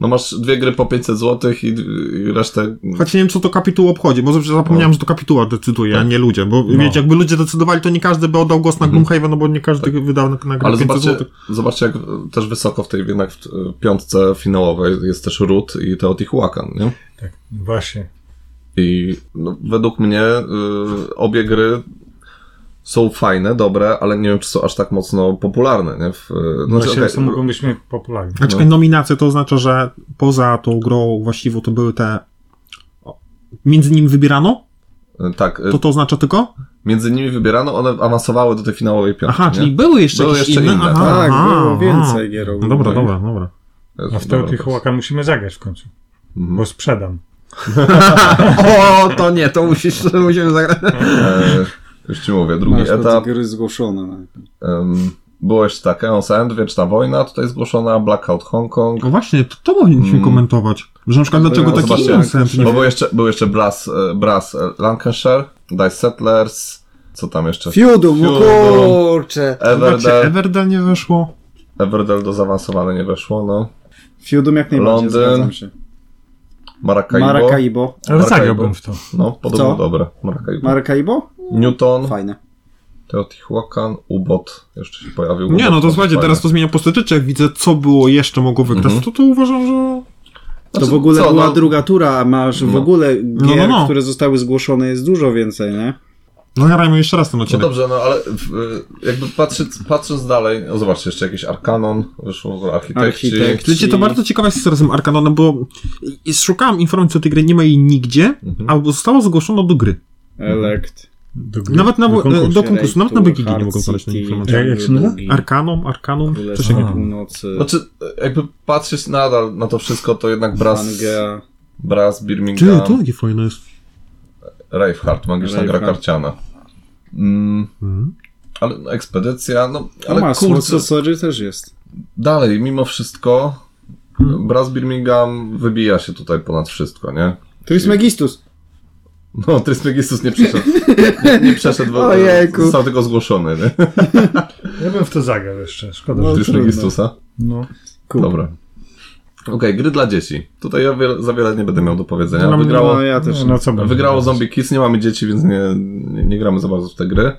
S2: No masz dwie gry po 500 zł i, i resztę...
S4: Choć nie wiem, co to kapituł obchodzi, bo zawsze
S2: No.
S4: zapomniałem, że to kapituła decyduje, a
S2: Tak.
S4: nie ludzie. Bo wiecie, jakby ludzie decydowali, to nie każdy by oddał głos na Gloomhaven, no bo nie każdy wydał na, na grę
S2: Mhm. Tak. Ale
S4: 500
S2: zobaczcie,
S4: zł.
S2: zobaczcie, jak e, też wysoko w tej jednak w e, piątce finałowej jest też Root i Teotihuacan, nie?
S3: Tak, właśnie.
S2: I no, według mnie y, obie gry są fajne, dobre, ale nie wiem, czy są aż tak mocno popularne. Nie? W, y,
S3: No,
S2: znaczy,
S3: właśnie
S2: okej,
S3: to mogą być mniej popularne.
S2: no.
S4: A czekaj, nominacje to oznacza, że poza tą grą właściwą to były te. o, Między nimi wybierano?
S2: r- tak, y,
S4: To to oznacza tylko?
S2: między nimi wybierano, one awansowały do tej finałowej piątki.
S4: Aha,
S2: nie?
S4: czyli były jeszcze
S2: Były
S4: jakieś
S2: jeszcze
S4: inne.
S2: inne, Tak.
S4: Aha,
S1: tak,
S4: aha,
S1: było
S4: aha.
S1: więcej gier.
S4: No Dobra, dobra, dobra.
S2: Jezu,
S3: A w
S2: dobra,
S3: Teotihuacan musimy zagrać w końcu,
S2: Mhm.
S3: bo sprzedam.
S4: o, to nie, to musisz, musimy zagrać.
S2: E, już ci mówię, drugi
S1: Masz etap...
S2: etap.
S1: gry zgłoszone. no.
S2: Um, było jeszcze tak, Eon Sand, Wieczna Wojna, tutaj zgłoszona, Blackout Hongkong.
S4: No właśnie, to, to powinniśmy
S2: Mm.
S4: komentować. Że na przykład dlaczego
S2: No,
S4: taki
S2: zobaczcie,
S4: nonsens nie
S2: Bo był jeszcze, był jeszcze Brass, e, Brass e, Lancashire, Dice Settlers, co tam jeszcze?
S1: Fiudum,
S2: Fiudum.
S1: kurczę.
S4: Zobaczcie,
S2: Everdell.
S4: Everdell nie weszło.
S2: Everdell do zaawansowane nie weszło, no.
S1: Fiudum jak najbardziej,
S2: Londyn.
S1: zgadzam się.
S2: Maracaibo.
S1: Maracaibo.
S3: Ale
S2: Maracaibo.
S3: zagrałbym w to.
S2: No, podobno
S1: Co?
S2: dobre. Maracaibo.
S1: Maracaibo?
S2: Newton,
S1: Fajne.
S2: Teotihuacan, Ubot. Jeszcze się pojawił.
S4: Nie,
S2: Ubot,
S4: no to słuchajcie,
S2: fajne.
S4: teraz to zmienia postać, jak widzę, co było jeszcze mogło wygrać,
S2: Mhm.
S4: to to uważam, że...
S1: To
S2: Znaczy,
S1: w ogóle
S2: co,
S1: była
S2: no,
S1: druga tura, a masz w
S2: No.
S1: ogóle gier,
S4: no, no.
S1: które zostały zgłoszone jest dużo więcej, nie?
S4: Nagrajmy jeszcze raz ten
S2: No
S4: odcinek.
S2: dobrze, no ale w, e, jakby patrząc, patrząc dalej, no zobaczcie, jeszcze jakiś Arkanon, wyszło w ogóle architekci.
S1: Architekt.
S4: Wiecie, to
S1: Czyli-
S4: bardzo ciekawa jest historia z tym Arkanonem, bo i- i szukałem informacji o tej gry, nie ma jej nigdzie,
S2: Mhm.
S4: a zostało zgłoszona do gry.
S1: Elect.
S3: Do gry,
S4: Nawet na,
S3: do
S4: do
S3: konkursu.
S4: konkursu, do konkursu nawet na
S1: Rejtur,
S4: Wikigi nie
S1: Hard
S4: mogą znaleźć tej
S1: City,
S4: informacji.
S3: Jak- jak się nazywa?
S1: Drugi,
S4: Arkanum, Arkanum, coś
S1: Królestwo
S3: takiego.
S1: Północy,
S2: Znaczy, e, jakby patrzeć nadal na to wszystko, to jednak Brass,
S1: Pangea,
S2: Brass
S4: Czy
S2: Birmingham,
S4: to jakie fajne jest.
S2: Reinhardt, magiczna gra
S1: Reinhardt.
S2: karciana. Mm, ale no, ekspedycja, no ale
S1: ale ma,
S2: kurczę,
S1: kurczę, Sorry też jest.
S2: dalej, mimo wszystko,
S1: Mhm.
S2: Brass Birmingham wybija się tutaj ponad wszystko, nie?
S1: To jest Megistus.
S2: No, Trismegistus nie przeszedł, nie, nie przeszedł, bo
S1: Ojejku.
S2: został tylko zgłoszony, nie?
S3: Ja bym w to zagrał jeszcze, szkoda.
S1: No.
S3: że-
S2: Trismegistusa.
S3: No.
S1: Kup.
S2: Dobra. Okej, gry dla dzieci. Tutaj ja wiele, za wiele nie będę miał do powiedzenia.
S4: No, no,
S2: wygrało
S1: No ja też.
S3: No, no co będę
S2: wygrało
S3: teraz?
S2: Zombie Kids, nie mamy dzieci, więc nie, nie, nie gramy za bardzo w te gry.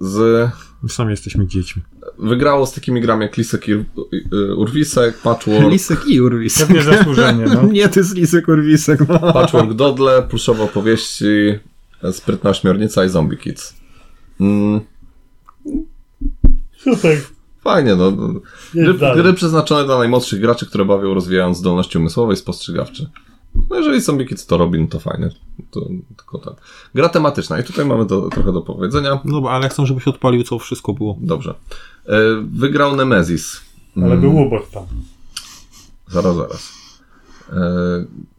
S2: Z,
S4: My sami jesteśmy dziećmi.
S2: wygrało z takimi grami jak Lisek i y, Urwisek, Patchwork,
S4: Lisek i Urwisek.
S3: Pewnie zasłużenie, no.
S4: Nie, to jest Lisek Urwisek. No.
S2: Patchwork Dodle, Pluszowe Opowieści, Sprytna Ośmiornica i Zombie Kids. Mm,
S3: Super,
S2: fajnie, no. Gry,
S3: jedź dalej.
S2: gry przeznaczone dla najmłodszych graczy, które bawią rozwijając zdolności umysłowe i spostrzegawcze. No jeżeli Zombie Kids to robi, no to fajnie. To, tylko tak. Gra tematyczna i tutaj mamy do, trochę do powiedzenia.
S4: No Dobra, ale chcę, żebyś odpalił, co wszystko było.
S2: Dobrze. E, Wygrał Nemesis. Mm.
S3: Ale był ubor tam.
S2: Zaraz, zaraz. E,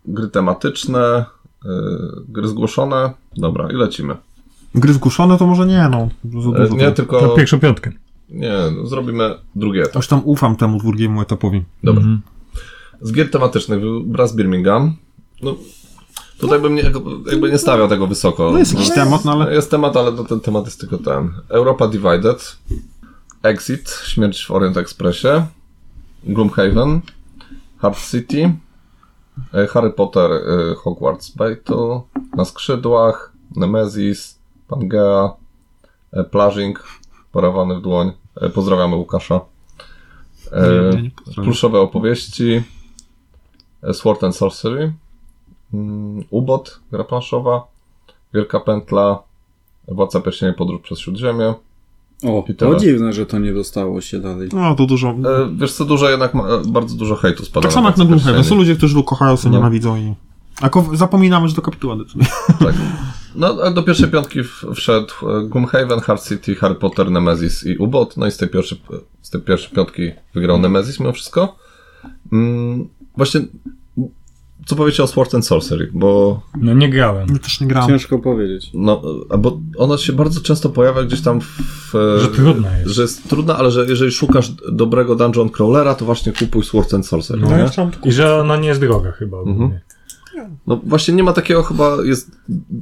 S2: Gry tematyczne, e, gry zgłoszone. Dobra, i lecimy.
S4: Gry zgłoszone to może nie, no. Za
S2: E,
S4: dużo
S2: Nie,
S4: to...
S3: To
S2: tylko...
S3: pierwszą piątkę.
S2: Nie, no, zrobimy drugi etap.
S4: Aż tam ufam temu drugiemu etapowi.
S2: Dobra. Z gier tematycznych był Brass Birmingham. No, tutaj bym nie, jakby nie stawiał tego wysoko.
S4: No jest jakiś temat, no ale...
S2: Jest temat, ale to ten temat jest tylko ten. Europa Divided, Exit, Śmierć w Orient Expressie, Gloomhaven, Hard City, e, Harry Potter, e, Hogwarts Battle, Na Skrzydłach, Nemesis, Pangea, e, Plażing, Parawany w dłoń. E, Pozdrawiamy Łukasza. E,
S4: Nie, nie, nie pozdrawiam.
S2: Pluszowe opowieści, e, Sword and Sorcery, mm, Ubot, gra planszowa, Wielka Pętla, Władca Pierścienia Podróż przez Śródziemie.
S1: O,
S2: I tyle.
S1: to dziwne, że to nie dostało się dalej.
S4: No, to dużo.
S2: E, wiesz co, dużo jednak, ma, e, bardzo dużo hejtu spada
S4: Tak samo jak
S2: Władcę
S4: na Gloomhaven. Są
S2: Pierścieni.
S4: ludzie, którzy go kochają, co
S2: No.
S4: nienawidzą i... A ko- zapominamy, że to kapituła decyduje.
S2: Tak. No, a do pierwszej piątki w- wszedł e, Gloomhaven, Hard City, Harry Potter, Nemesis i Ubot. No i z tej pierwszej, z tej pierwszej piątki wygrał Nemesis mimo wszystko. Mm, właśnie, co powiecie o Sword and Sorcery, bo
S3: No nie grałem.
S4: Ja też nie grałem.
S1: Ciężko powiedzieć.
S2: No, a bo ona się bardzo często pojawia gdzieś tam w... e,
S3: Że trudna jest.
S2: Że jest trudna, ale że jeżeli szukasz dobrego dungeon crawlera, to właśnie kupuj Sword and Sorcery.
S4: No,
S2: nie?
S4: ja chciałem tylko...
S3: I że ona nie jest droga chyba
S2: Mhm.
S3: ogólnie.
S2: no właśnie nie ma takiego chyba, jest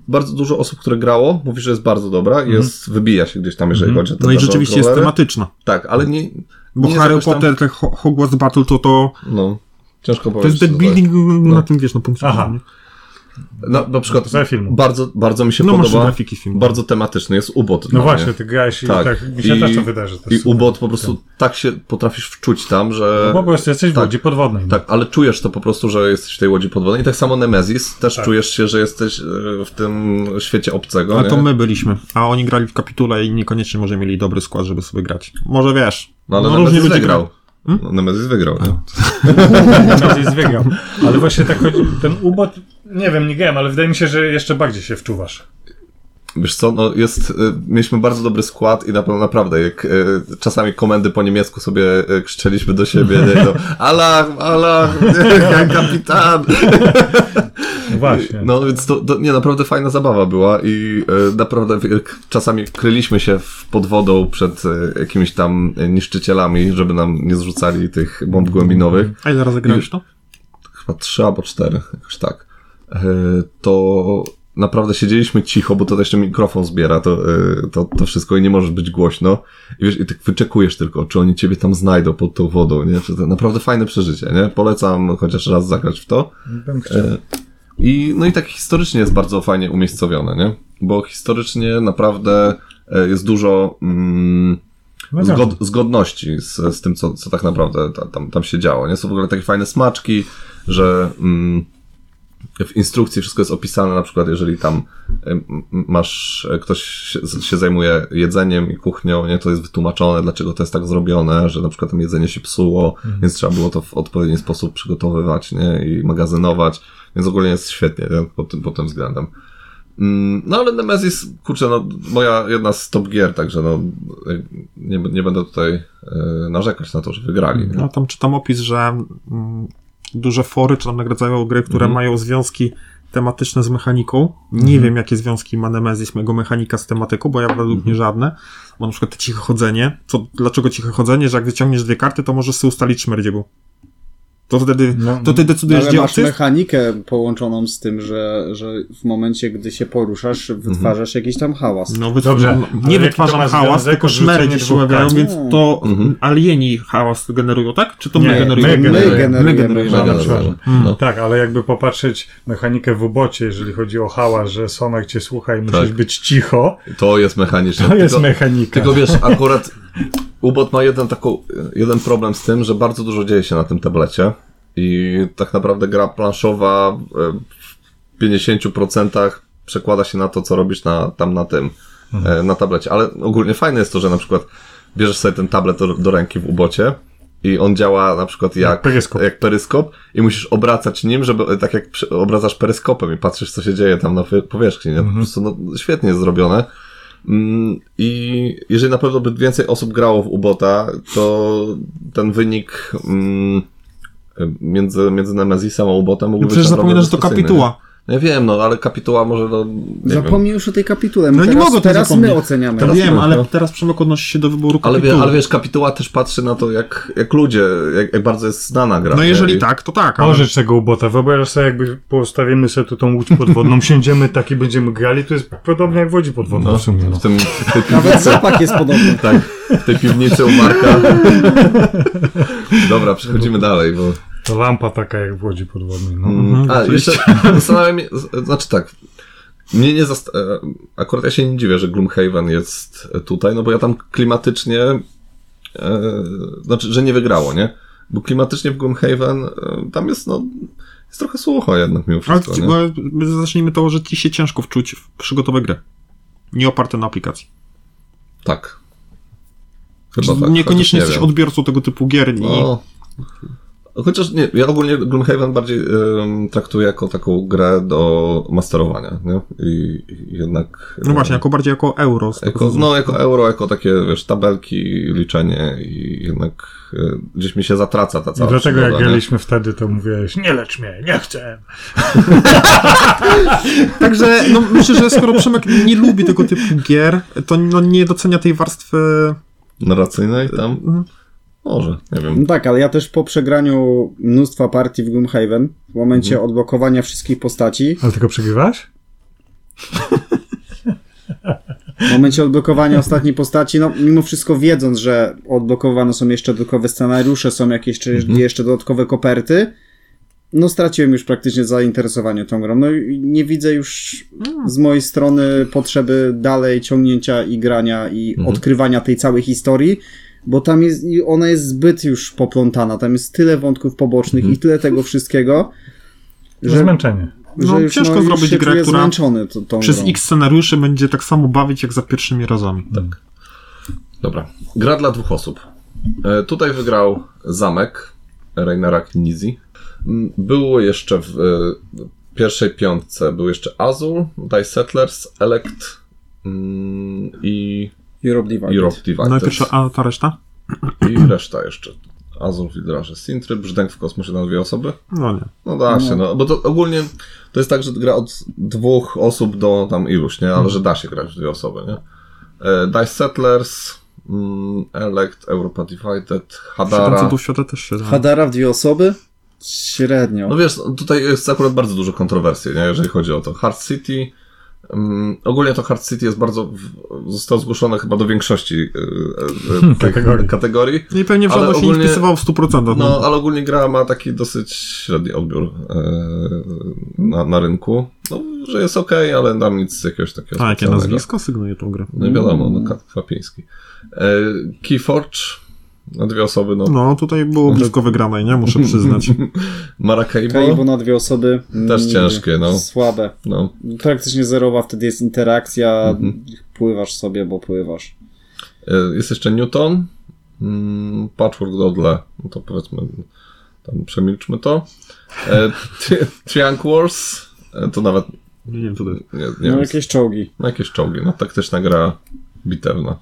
S2: bardzo dużo osób, które grało, mówi, że jest bardzo dobra i jest, wybija się gdzieś tam, jeżeli
S3: Mhm.
S2: chodzi o te
S4: Mhm. No i
S2: dungeon
S4: rzeczywiście jest
S2: crawlery.
S4: tematyczna.
S2: Tak, ale nie...
S4: Bo
S2: nie
S4: Harry
S2: jakoś tam-
S4: Potter, te Ho- Hogwarts Battle, to to,
S2: No, ciężko
S4: to
S2: powiedzieć.
S4: jest deck
S2: co to jest.
S4: building
S2: Tak.
S4: na tym, wiesz, na punkcie.
S3: Aha.
S4: widzenia.
S2: Na, na przykład
S3: Ze filmu.
S2: bardzo, bardzo mi się
S4: No masz
S2: podoba,
S4: grafiki z filmu.
S2: bardzo tematyczny jest ubot. dla
S3: No
S2: mnie.
S3: właśnie, ty grałeś i
S2: Tak.
S3: tak, mi się
S2: I-
S3: też to wydarzy. To
S2: I
S3: jest super.
S2: ubot po prostu tak się potrafisz wczuć tam, że...
S3: No Bo po prostu jesteś w
S2: tak.
S3: łodzi podwodnej. no.
S2: Tak, ale czujesz to po prostu, że jesteś w tej łodzi podwodnej. I tak samo Nemesis, też
S3: Tak.
S2: czujesz się, że jesteś e, w tym świecie obcego.
S4: Ale to
S2: nie?
S4: my byliśmy, a oni grali w kapitule i niekoniecznie może mieli dobry skład, żeby sobie grać. Może wiesz.
S2: No ale
S4: różni
S2: Nemesis
S4: ludzie
S2: wygrał.
S4: grają.
S2: No, Nemesis wygrał. nie?
S3: Bardziej zwiegam. Ale właśnie tak chodzi, ten ubot, nie wiem, nie grałem, ale wydaje mi się, że jeszcze bardziej się wczuwasz.
S2: Wiesz co, no jest, e, mieliśmy bardzo dobry skład i na pewno naprawdę, jak e, czasami komendy po niemiecku sobie e, krzyczeliśmy do siebie, nie, no, alarm, alarm, kapitan.
S3: Właśnie.
S2: No więc to, to nie, naprawdę fajna zabawa była i e, naprawdę e, k- czasami kryliśmy się w, pod wodą przed e, jakimiś tam e, niszczycielami, żeby nam nie zrzucali tych bomb głębinowych.
S4: A ile razy grałeś to?
S2: Chyba trzy albo cztery, jakoś tak. E, to naprawdę siedzieliśmy cicho, bo to jeszcze mikrofon zbiera to, e, to, to wszystko i nie możesz być głośno. I wiesz, i tak wyczekujesz tylko, czy oni ciebie tam znajdą pod tą wodą, nie? Czy to naprawdę fajne przeżycie, nie? Polecam chociaż raz zagrać w to.
S3: Bym chciał.
S2: e, I, no i tak historycznie jest bardzo fajnie umiejscowione, nie? Bo historycznie naprawdę e, jest dużo mm,
S3: No tak.
S2: zgod, zgodności z, z tym, co, co tak naprawdę ta, tam, tam się działo, nie? Są w ogóle takie fajne smaczki, że mm, w instrukcji wszystko jest opisane, na przykład jeżeli tam em, masz, e, ktoś się, się zajmuje jedzeniem i kuchnią, nie, to jest wytłumaczone, dlaczego to jest tak zrobione, że na przykład tam jedzenie się psuło,
S3: Mhm.
S2: więc trzeba było to w odpowiedni sposób przygotowywać, nie, i magazynować, więc ogólnie jest świetnie, nie, pod tym, pod tym względem. Mm, No ale Nemesis, kurczę, no, moja jedna z top gier, także no, e, nie, nie będę tutaj e, narzekać na to, że wygrali. Nie?
S4: No tam czytam opis, że mm, duże fory czy tam nagradzają gry, które
S2: Mhm.
S4: mają związki tematyczne z mechaniką. Nie
S3: Mhm.
S4: wiem, jakie związki ma Nemesis, mego mechanika z tematyką, bo ja według
S3: Mhm.
S4: mnie żadne. Bo na przykład te ciche chodzenie. Co, dlaczego ciche chodzenie? Że jak wyciągniesz dwie karty, to możesz sobie ustalić szmerdziegu. To wtedy,
S3: No.
S4: to ty decydujesz,
S1: Ale
S4: gdzie
S1: masz
S4: obcy jest.
S1: mechanikę połączoną z tym, że, że w momencie, gdy się poruszasz, wytwarzasz jakiś tam hałas.
S4: No, wytw-
S3: Dobrze,
S4: no, nie
S3: ale jaki to ma
S4: wytwarzam hałas,
S3: związek
S4: tylko
S3: odrzucenie
S4: szmery gdzieś się
S3: dwóch
S4: umawiają,
S3: kart?
S4: więc to
S2: Mhm.
S4: alieni hałas generują, tak? Czy to my
S3: Nie,
S4: generujemy?
S3: my generujemy.
S1: generujemy.
S2: Mega
S3: na
S2: dobrze.
S3: przykład.
S2: No.
S3: Tak, ale jakby popatrzeć mechanikę w ubocie, jeżeli chodzi o hałas, że sonar cię słucha i musisz
S2: Tak.
S3: być cicho,
S2: To jest mechaniczne.
S3: to jest
S2: Tylko-
S3: mechanika.
S2: Tylko wiesz, akurat Ubot ma jeden, taką, jeden problem z tym, że bardzo dużo dzieje się na tym tablecie i tak naprawdę gra planszowa e, w 50% przekłada się na to, co robisz na, tam na tym, e, na tablecie. Ale ogólnie fajne jest to, że na przykład bierzesz sobie ten tablet do, do ręki w Ubocie i on działa na przykład jak,
S3: peryskop.
S2: jak peryskop i musisz obracać nim, żeby tak jak przy- obracasz peryskopem i patrzysz, co się dzieje tam na wy- powierzchni. Nie? To Po prostu no, świetnie jest zrobione. Mm, I jeżeli na pewno by więcej osób grało w Ubota, to ten wynik mm, między, między Nemezisem a Ubotem mógłby być
S4: No Przecież
S2: naprawdę
S4: zapominasz, że to
S2: rewelacyjny,
S4: kapituła.
S2: Nie Ja wiem, no ale kapituła może no, nie wiem.
S1: Zapomnij już o tej kapitule.
S4: No nie
S1: teraz,
S4: mogę tego
S1: Teraz
S4: zapomnieć.
S1: my oceniamy.
S2: Teraz
S4: Wiem,
S2: nie,
S4: ale
S2: no.
S4: teraz Przemek odnosi się do wyboru
S2: Ale, wie,
S4: kapituły.
S2: ale wiesz, kapituła też patrzy na to, jak, jak ludzie, jak, jak bardzo jest znana gra.
S4: No
S2: nie?
S4: jeżeli
S2: I-
S4: tak, to tak. Ale...
S3: Pożycz tego ubota. Wyobraź sobie, jakby postawimy sobie tu tą łódź podwodną, siędziemy tak i będziemy grali, to jest podobnie jak w łodzi podwodnej
S2: No,
S3: w sumie. No.
S2: w, tym, w, tej piwnicy,
S1: Nawet zapach jest podobny.
S2: tak, w tej piwnicy u Marka. Dobra, przechodzimy dalej, bo...
S3: To lampa taka jak w łodzi podwodnej. No.
S4: Mhm,
S2: A, jeszcze zastanawiam się, z- znaczy tak, mnie nie zast... e, akurat ja się nie dziwię, że Gloomhaven jest tutaj, no bo ja tam klimatycznie, e, znaczy, że nie wygrało, nie? Bo klimatycznie w Gloomhaven e, tam jest, no, jest trochę sucho jednak mimo
S4: Ale
S2: wszystko, nie?
S4: bo- zacznijmy to, że ci się ciężko wczuć w przygotowe gry. Nie oparte na aplikacji.
S2: Tak. Chyba tak. chociaż
S4: Znaczy, Niekoniecznie
S2: nie
S4: jesteś
S2: wiem.
S4: odbiorcą tego typu gier. No.
S2: No. Chociaż nie, ja ogólnie Gloomhaven bardziej em, traktuję jako taką grę do masterowania, nie? I, i jednak... e,
S4: no właśnie, jako bardziej jako euro. z tego
S2: Jako,
S4: co-
S2: no, jako euro, jako takie, wiesz, tabelki, liczenie i jednak e, gdzieś mi się zatraca ta
S3: I
S2: cała
S3: dlatego jak
S2: przygoda, nie?
S3: graliśmy wtedy, to mówiłeś, nie lecz mnie, nie chcę.
S4: Także no, myślę, że skoro Przemek nie lubi tego typu gier, to no, nie docenia tej warstwy.
S2: Narracyjnej
S3: Mhm.
S2: tam? Może, nie wiem.
S1: No tak, ale ja też po przegraniu mnóstwa partii w Gloomhaven, w momencie odblokowania wszystkich postaci,
S3: Ale tylko przegrywasz?
S1: w momencie odblokowania ostatniej postaci, no mimo wszystko wiedząc, że odblokowane są jeszcze dodatkowe scenariusze, są jakieś jeszcze,
S4: Mhm.
S1: jeszcze dodatkowe koperty, no straciłem już praktycznie zainteresowanie tą grą. No i nie widzę już z mojej strony potrzeby dalej ciągnięcia i grania i
S4: Mhm.
S1: odkrywania tej całej historii, bo tam jest, i ona jest zbyt już poplątana, tam jest tyle wątków pobocznych
S4: Mhm.
S1: i tyle tego wszystkiego,
S3: Że...
S1: że,
S3: Zmęczenie.
S1: że
S4: No,
S1: już,
S4: ciężko
S1: no, już
S4: zrobić
S1: się
S4: grę,
S1: czuję
S4: która
S1: zmęczony t- tą
S4: Przez
S1: grą.
S4: X scenariuszy będzie tak samo bawić jak za pierwszymi razami.
S2: Dobra. Gra dla dwóch osób. E, tutaj wygrał Zamek Reinera Knizji. Mm, Było jeszcze w e, pierwszej piątce, był jeszcze Azul, Die Settlers, Elect mm, i
S1: Europe Divide.
S2: Europe Divided.
S3: No
S4: No Najpierw, a ta reszta?
S2: I reszta jeszcze. Azul w liderze Sintry, brzdęk w kosmosie na dwie osoby.
S4: No nie.
S2: No da się, no. Bo to ogólnie to jest tak, że gra od dwóch osób do tam iluś, nie? Ale że da się grać w dwie osoby, nie? E, Dice Settlers, mm, Elect, Europa Divided,
S4: Siedem
S2: Hadara.
S4: cudów świata też się da.
S1: Hadara w dwie osoby? Średnio.
S2: No wiesz, tutaj jest akurat bardzo dużo kontrowersji, nie? Jeżeli chodzi o to. Hard City, mm, ogólnie to Hard City jest bardzo, w- zostało zgłoszone chyba do większości e, e,
S3: Kategorii.
S2: tych kategorii.
S4: No i pewnie w
S2: Ale
S4: żadną się nie
S2: ogólnie-
S4: wpisywał w 100%. No,
S2: No, ale ogólnie gra ma taki dosyć średni odbiór e, na, na rynku. No, że jest okej, ale tam nic jakiegoś takiego
S4: A, jakie
S2: specjalnego.
S4: nazwisko Mm. sygnuje tą grę.
S2: No i wiadomo, no, Kat Kwapiński. E, Keyforge, na dwie osoby, no.
S4: No, tutaj było blisko wygranej, nie? Muszę przyznać.
S1: Kaibo
S2: Maracaibo,
S1: na dwie osoby.
S2: no. Też
S1: mm,
S2: ciężkie, no.
S1: Słabe.
S2: no.
S1: Praktycznie zerowa, wtedy jest interakcja,
S2: Mhm.
S1: pływasz sobie, bo pływasz.
S2: E, Jest jeszcze Newton, mm, Patchwork Dodle, no to powiedzmy, tam przemilczmy to. E, Tri- Triank Wars, e, to nawet,
S4: Nie wiem, co to jest.
S2: nie, nie
S1: No
S2: wiem,
S1: jakieś czołgi.
S2: No jakieś czołgi, no taktyczna gra bitewna.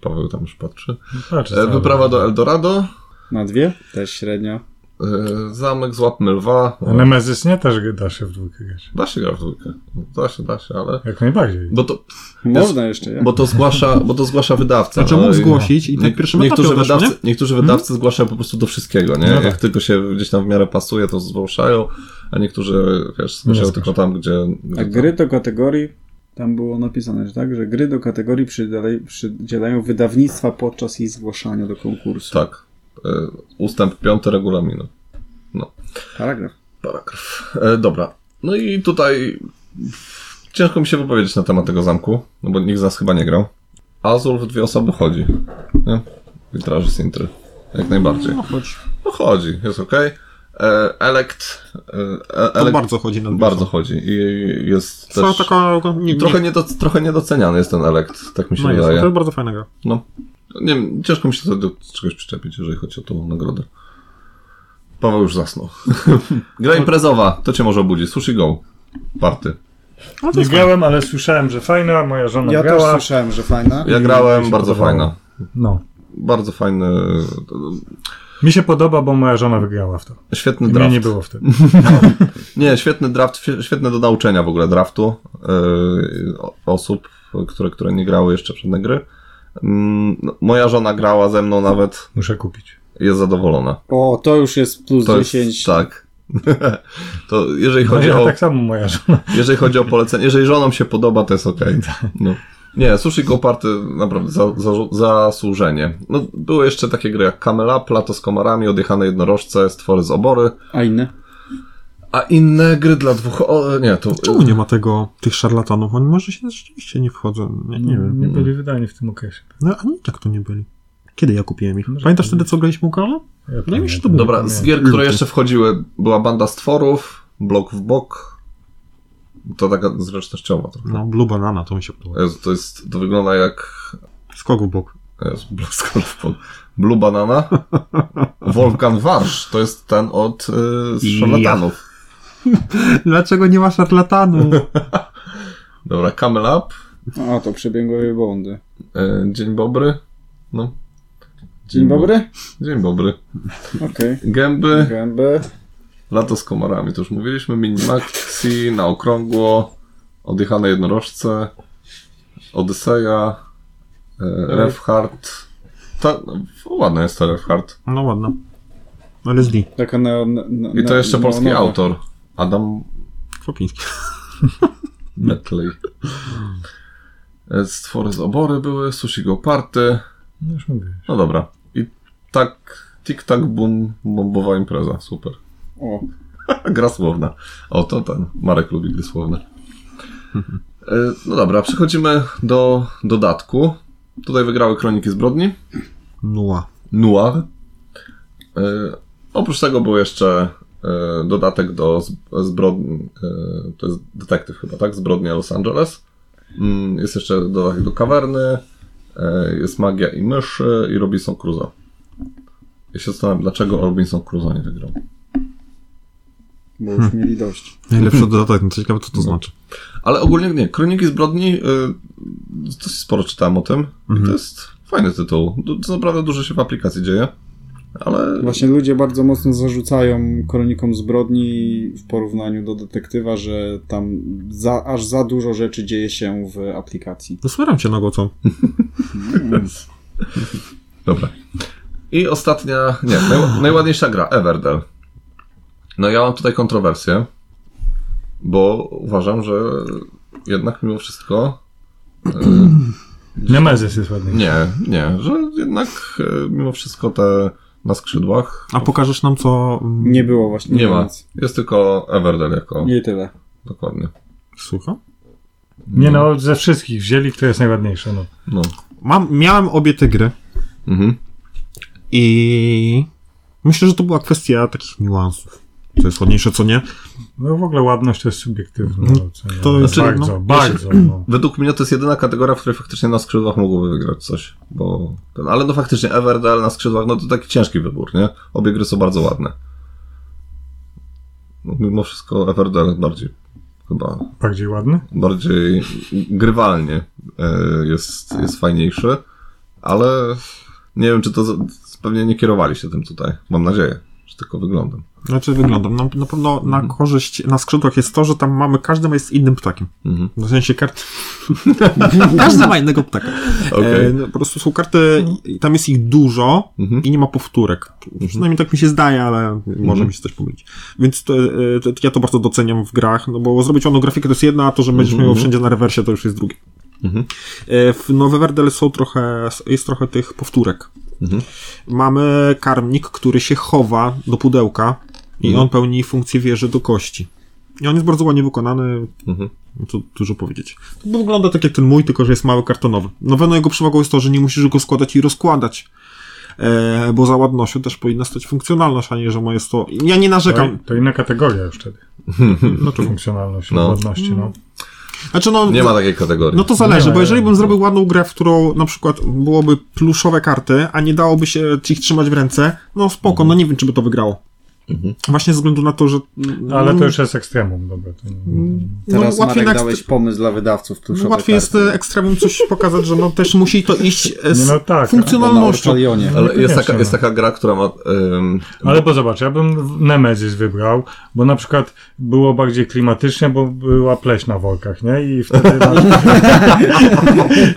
S2: Paweł tam już patrzy.
S3: Patrz,
S2: E, wyprawa do Eldorado,
S1: Na dwie? Też średnio.
S2: e, zamek, złapmy lwa. No,
S3: A Nemezis nie też da się w dwójkę grać.
S2: Da się gra w dwójkę. No, Da się, da się, ale...
S3: Jak najbardziej.
S2: Bo to,
S1: Można jeszcze, jak?
S2: bo to, zgłasza, bo to zgłasza wydawca.
S4: Znaczy mógł
S2: no i-
S4: zgłosić i tak pierwszy etapie
S2: niektórzy,
S4: odeszło, nie? Mhm.
S2: wydawcy, niektórzy wydawcy zgłaszają po prostu do wszystkiego, nie?
S3: No tak.
S2: Jak tylko się gdzieś tam w miarę pasuje, to zgłaszają, a niektórzy, wiesz, zgłaszają
S3: Nie
S2: tylko tam, gdzie...
S1: A
S2: gdzie
S1: gry do kategorii, tam było napisane, że tak, że gry do kategorii przydale- przydzielają wydawnictwa podczas jej zgłaszania do konkursu.
S2: Tak. E, Ustęp piąty regulaminu.
S1: Paragraf.
S2: Paragraf. E, dobra. No i tutaj ciężko mi się wypowiedzieć na temat tego zamku, no bo nikt z nas chyba nie grał. Azul w dwie osoby chodzi. Nie? Witraży Sintry. Jak najbardziej.
S4: No, choć.
S2: No chodzi, jest okej. E, Elekt. e, E,
S4: To
S2: elekt
S4: bardzo chodzi na
S2: bardzo chodzi. I jest
S4: Cała
S2: też...
S4: taka... no, Nie,
S2: Trochę,
S4: nie,
S2: niedo, trochę niedoceniany jest ten Elekt, tak mi się
S4: no jest, to
S2: wydaje.
S4: jest bardzo fajna gra.
S2: No. Nie wiem, ciężko mi się tutaj do czegoś przyczepić, jeżeli chodzi o tą nagrodę. Paweł już zasnął. Gra imprezowa, to cię może obudzić. Sushi Go. Party.
S4: No, to
S3: Nie
S4: jest
S3: grałem, ale słyszałem, że fajna, moja żona
S1: Ja też
S3: grała.
S1: słyszałem, że fajna.
S2: Ja
S3: I mi
S2: grałem,
S3: się
S2: bardzo
S3: podobało.
S2: fajna.
S3: No.
S2: Bardzo fajny,
S3: Mi się podoba, bo moja żona wygrała w to.
S2: świetny
S3: I
S2: No draft.
S3: mnie nie było wtedy.
S2: Nie, świetny draft, świe- świetne do nauczenia w ogóle draftu yy, o- osób, które, które nie grały jeszcze przed gry. Mm, no, Moja żona grała ze mną nawet,
S3: Muszę kupić.
S2: jest zadowolona.
S1: O, to już jest plus
S2: To jest,
S1: 10.
S2: tak. to jeżeli
S3: No
S2: chodzi
S3: ja
S2: o...
S3: tak samo moja żona.
S2: Jeżeli chodzi o polecenie, jeżeli żonom się podoba, to jest okej. No. Nie, Sushi Go Party naprawdę za, za, zasłużenie. No, były jeszcze takie gry jak Kamela, Plato z komarami, Odjechane jednorożce, Stwory z obory,
S1: A inne?
S2: a inne gry dla dwóch... O, nie, to...
S4: Czemu nie ma tego, tych szarlatanów? Oni może się rzeczywiście nie wchodzą. Nie, nie wiem.
S3: Nie byli wydani w tym okresie.
S4: No ani tak to nie byli. Kiedy ja kupiłem ich?
S3: Może
S4: Pamiętasz
S3: to
S4: wtedy, co graliśmy u Karola?
S3: Ja
S4: No i mi się
S3: pamiętam.
S4: to było.
S2: Dobra, z gier, które jeszcze wchodziły, była Banda Stworów, Blok w Bok, to taka zręcznościowa trochę.
S4: No, Blue Banana, to mi się podoba.
S2: Jezu, To jest, to wygląda jak...
S4: Skok w bok.
S2: Jezu, Blue, Skull w Bok. Blue Banana, Wolfgang Warsz, to jest ten od yy, szarlatanów.
S4: Dlaczego nie ma szarlatanu?
S2: Dobra, Camel Up,
S1: A, to przebiegłe bondy.
S2: e, Dzień Bobry. No.
S1: Dzień dobry.
S2: bo- Dzień Bobry.
S1: Okej.
S2: Gęby,
S1: Gęby.
S2: Lato z komarami, to już mówiliśmy, Minimaxi, Na Okrągło, Odjechane Jednorożce, Odyseja, e, Refhard. Ta, o, ładna jest ta Refhard.
S4: No ładna. Ale z
S1: Taka neon... ne-
S2: I to
S1: ne-
S2: jeszcze polski
S1: neonowa.
S2: autor, Adam
S4: Kwopiński.
S2: Metley. E, Stwory z obory były, Sushi Go Party.
S3: No już mówię.
S2: No dobra. I tak, tik-tak, bum, bombowa impreza, super.
S1: O,
S2: Gra słowna. O, to ten. Marek lubi gry słowne. E, No dobra, przechodzimy do dodatku. Tutaj wygrały Kroniki Zbrodni.
S4: Nua.
S2: Noir. E, Oprócz tego był jeszcze e, dodatek do z- zbrodni, e, to jest detektyw chyba, tak? Zbrodnia Los Angeles. Mm, Jest jeszcze dodatek do kawerny, e, jest magia i myszy i Robinson Crusoe. Ja się zastanawiam, dlaczego Robinson Crusoe nie wygrał.
S1: bo już mieli dość.
S4: Najlepszy dodatek, no to ciekawe co to znaczy.
S2: Ale ogólnie nie. Kroniki zbrodni, y, dosyć sporo czytałem o tym. I to jest fajny tytuł. Du- Co naprawdę dużo się w aplikacji dzieje. Ale
S1: Właśnie ludzie bardzo mocno zarzucają kronikom zbrodni w porównaniu do detektywa, że tam za, aż za dużo rzeczy dzieje się w aplikacji.
S4: No smeram cię nogą, co?
S2: Dobra. I ostatnia, nie, najł- najładniejsza gra, Everdell. No ja mam tutaj kontrowersję, bo uważam, że jednak mimo wszystko,
S3: Nemezis jest ładny.
S2: nie, nie, że jednak e, mimo wszystko te na skrzydłach
S4: A pokażesz nam, co... mm,
S1: Nie było właśnie.
S2: nie ma.
S1: nic.
S2: Jest tylko Everdell jako,
S1: Nie tyle.
S2: dokładnie.
S4: Słucham?
S3: Nie no, ze wszystkich wzięli, kto jest najładniejszy. No.
S2: No.
S4: Mam, miałem obie te gry
S2: Mhm.
S4: i... Myślę, że to była kwestia takich niuansów. Co jest ładniejsze, co nie.
S3: no w ogóle ładność to jest subiektywna.
S4: Mhm.
S3: ocena.
S4: To jest-
S3: bardzo,
S4: no,
S3: bardzo. No.
S2: Według mnie to jest jedyna kategoria, w której faktycznie na skrzydłach mogłoby wygrać coś, bo ten, ale no faktycznie Everdell na skrzydłach, no to taki ciężki wybór, nie? Obie gry są bardzo ładne. No, Mimo wszystko Everdell bardziej chyba,
S3: Bardziej ładny?
S2: bardziej grywalnie e, jest, jest fajniejszy, ale nie wiem, czy to za- pewnie nie kierowali się tym tutaj. Mam nadzieję, że tylko wyglądem.
S4: Znaczy wyglądam. Na, na pewno
S2: Mhm.
S4: na korzyść na skrzydłach jest to, że tam mamy, każdy ma jest innym ptakiem.
S2: Mhm.
S4: W sensie kart. każdy ma innego ptaka.
S2: Okej.
S4: E, no, po prostu są karty, i tam jest ich dużo
S2: Mhm.
S4: i nie ma powtórek. Przynajmniej tak mi się zdaje, ale może mi się coś pomylić. Więc to, e, to, ja to bardzo doceniam w grach, no bo zrobić ono grafikę to jest jedno, a to, że będziesz
S2: Mhm,
S4: miał
S2: mhm.
S4: wszędzie na rewersie, to już jest drugie.
S2: Mhm.
S4: E, W Nowe Werdel są trochę, jest trochę tych powtórek.
S2: Mhm.
S4: Mamy karmnik, który się chowa do pudełka i
S2: Mhm.
S4: on pełni funkcję wieży do kości. I on jest bardzo ładnie wykonany,
S2: Mhm.
S4: co dużo powiedzieć. To wygląda tak jak ten mój, tylko że jest mały kartonowy. No pewno jego przewagą jest to, że nie musisz go składać i rozkładać. E, bo za ładnością też powinna stać funkcjonalność, a nie, że ma jest to... Ja nie
S3: To,
S4: narzekam.
S3: to inna kategoria już wtedy. Znaczy funkcjonalność,
S2: No.
S3: ładności. No.
S4: Znaczy no,
S2: Nie ma takiej kategorii.
S4: no to zależy,
S3: Nie.
S4: bo jeżeli bym zrobił ładną grę, w którą na przykład byłoby pluszowe karty, a nie dałoby się ich trzymać w ręce, no spoko, no nie wiem, czy by to wygrało.
S2: Mhm.
S4: Właśnie ze względu na to, że...
S3: No, Ale
S4: no,
S3: to już jest ekstremum, dobra. To nie,
S1: Teraz
S4: no, łatwiej
S1: Marek
S4: na ekstr-
S1: dałeś pomysł dla wydawców. tak.
S4: no, łatwiej jest e, ekstremum coś pokazać, że no też musi to iść e, z
S3: Nie, no tak,
S1: na
S4: funkcjonalnością.
S1: Orpalionie.
S2: Ale jest taka,
S3: Koniecznie,
S2: jest
S3: no.
S2: taka gra, która ma. ym,
S3: Ale bo zobacz, ja bym Nemezis wybrał, bo na przykład było bardziej klimatycznie, bo była pleś na workach, nie? I wtedy...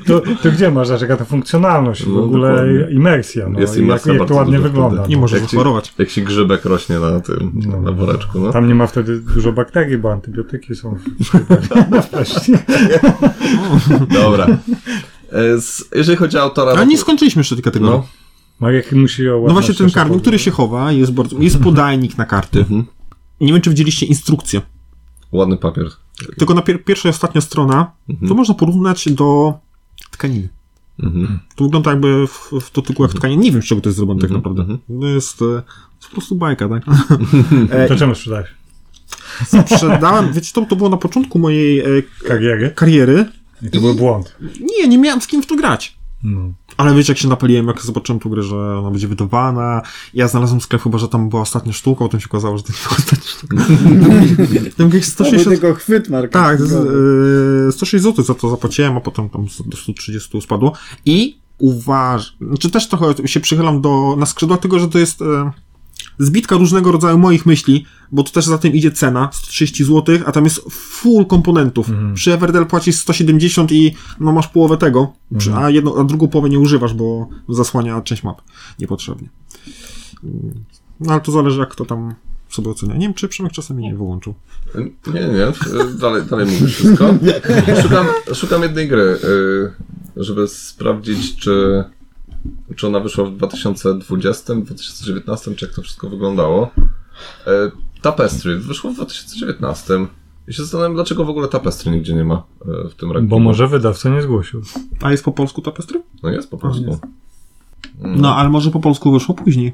S3: to, to gdzie masz zaczekać? Ta funkcjonalność, w
S2: No,
S3: ogóle
S2: dokładnie.
S3: imersja, no.
S2: Jest
S3: I jak,
S2: imersja
S3: jak to
S2: bardzo
S3: ładnie
S2: duża
S3: wygląda.
S2: wtedy.
S4: Nie
S3: no.
S4: może
S2: Jak ci-
S4: zachorować.
S2: Jak się grzybek rośnie na tym,
S3: No.
S2: na woreczku, no.
S3: Tam nie ma wtedy dużo bakterii, bo antybiotyki są w No, na pleśni.
S2: Dobra. E, z- Jeżeli chodzi o autora...
S4: Ale
S2: no
S4: nie
S2: to-
S4: skończyliśmy jeszcze tej kategorii.
S2: No,
S4: No,
S3: Marek musi ją ładnie
S4: właśnie ten
S3: jeszcze
S4: karmnik, który się chowa, jest bardzo... Jest podajnik na karty.
S2: Mhm.
S4: Nie wiem, czy widzieliście instrukcję.
S2: ładny papier.
S4: Tylko na pier- pierwsza i ostatnia strona to można porównać do tkaniny.
S2: Mhm.
S4: To wygląda jakby w, w dotyku jak tkanina. Nie wiem, z czego to jest zrobione tak naprawdę.
S2: mhm.
S4: To jest, e, to po prostu bajka, tak?
S3: powiedzieć. To czemu sprzedałeś?
S4: Sprzedałem, wiecie, to, to było na początku mojej e,
S3: Karierę?
S4: kariery.
S3: I to był błąd.
S4: Nie, nie miałem z kim w to grać.
S3: No.
S4: Ale wiecie, jak się napaliłem, jak zobaczyłem tą grę, że ona będzie wydawana. Ja znalazłem sklep chyba, że tam była ostatnia sztuka, potem się okazało, że to nie była ostatnia sztuka. Tam jakieś
S1: To był
S4: 160
S1: tylko chwyt
S4: Tak, z,
S1: marketingowy.
S4: y, 106 zł za to zapłaciłem, a potem tam z- do 130 spadło. I uważ, znaczy też trochę się przychylam do, na skrzydła tego, że to jest y, zbitka różnego rodzaju moich myśli, bo to też za tym idzie cena, 130 zł, a tam jest full komponentów. Przy Everdell płacisz 170 i no masz połowę tego, przy- a, jedną, a drugą połowę nie używasz, bo zasłania część map niepotrzebnie. Mm, No ale to zależy jak to tam sobie ocenia. Nie wiem, czy Przemek czasami nie wyłączył.
S2: Nie, nie, nie. E, Dalej, dalej mówię wszystko. Szukam, szukam jednej gry, y, żeby sprawdzić, czy, czy ona wyszła w 2020, 2019, czy jak to wszystko wyglądało. E, Tapestry wyszło w 2019. I się zastanawiam, dlaczego w ogóle Tapestry nigdzie nie ma e, w tym
S3: Bo
S2: rankingu.
S3: może wydawca Tak, nie zgłosił.
S4: A jest po polsku tapestry?
S2: No jest po prostu.
S4: jest. No, ale może po polsku wyszło później.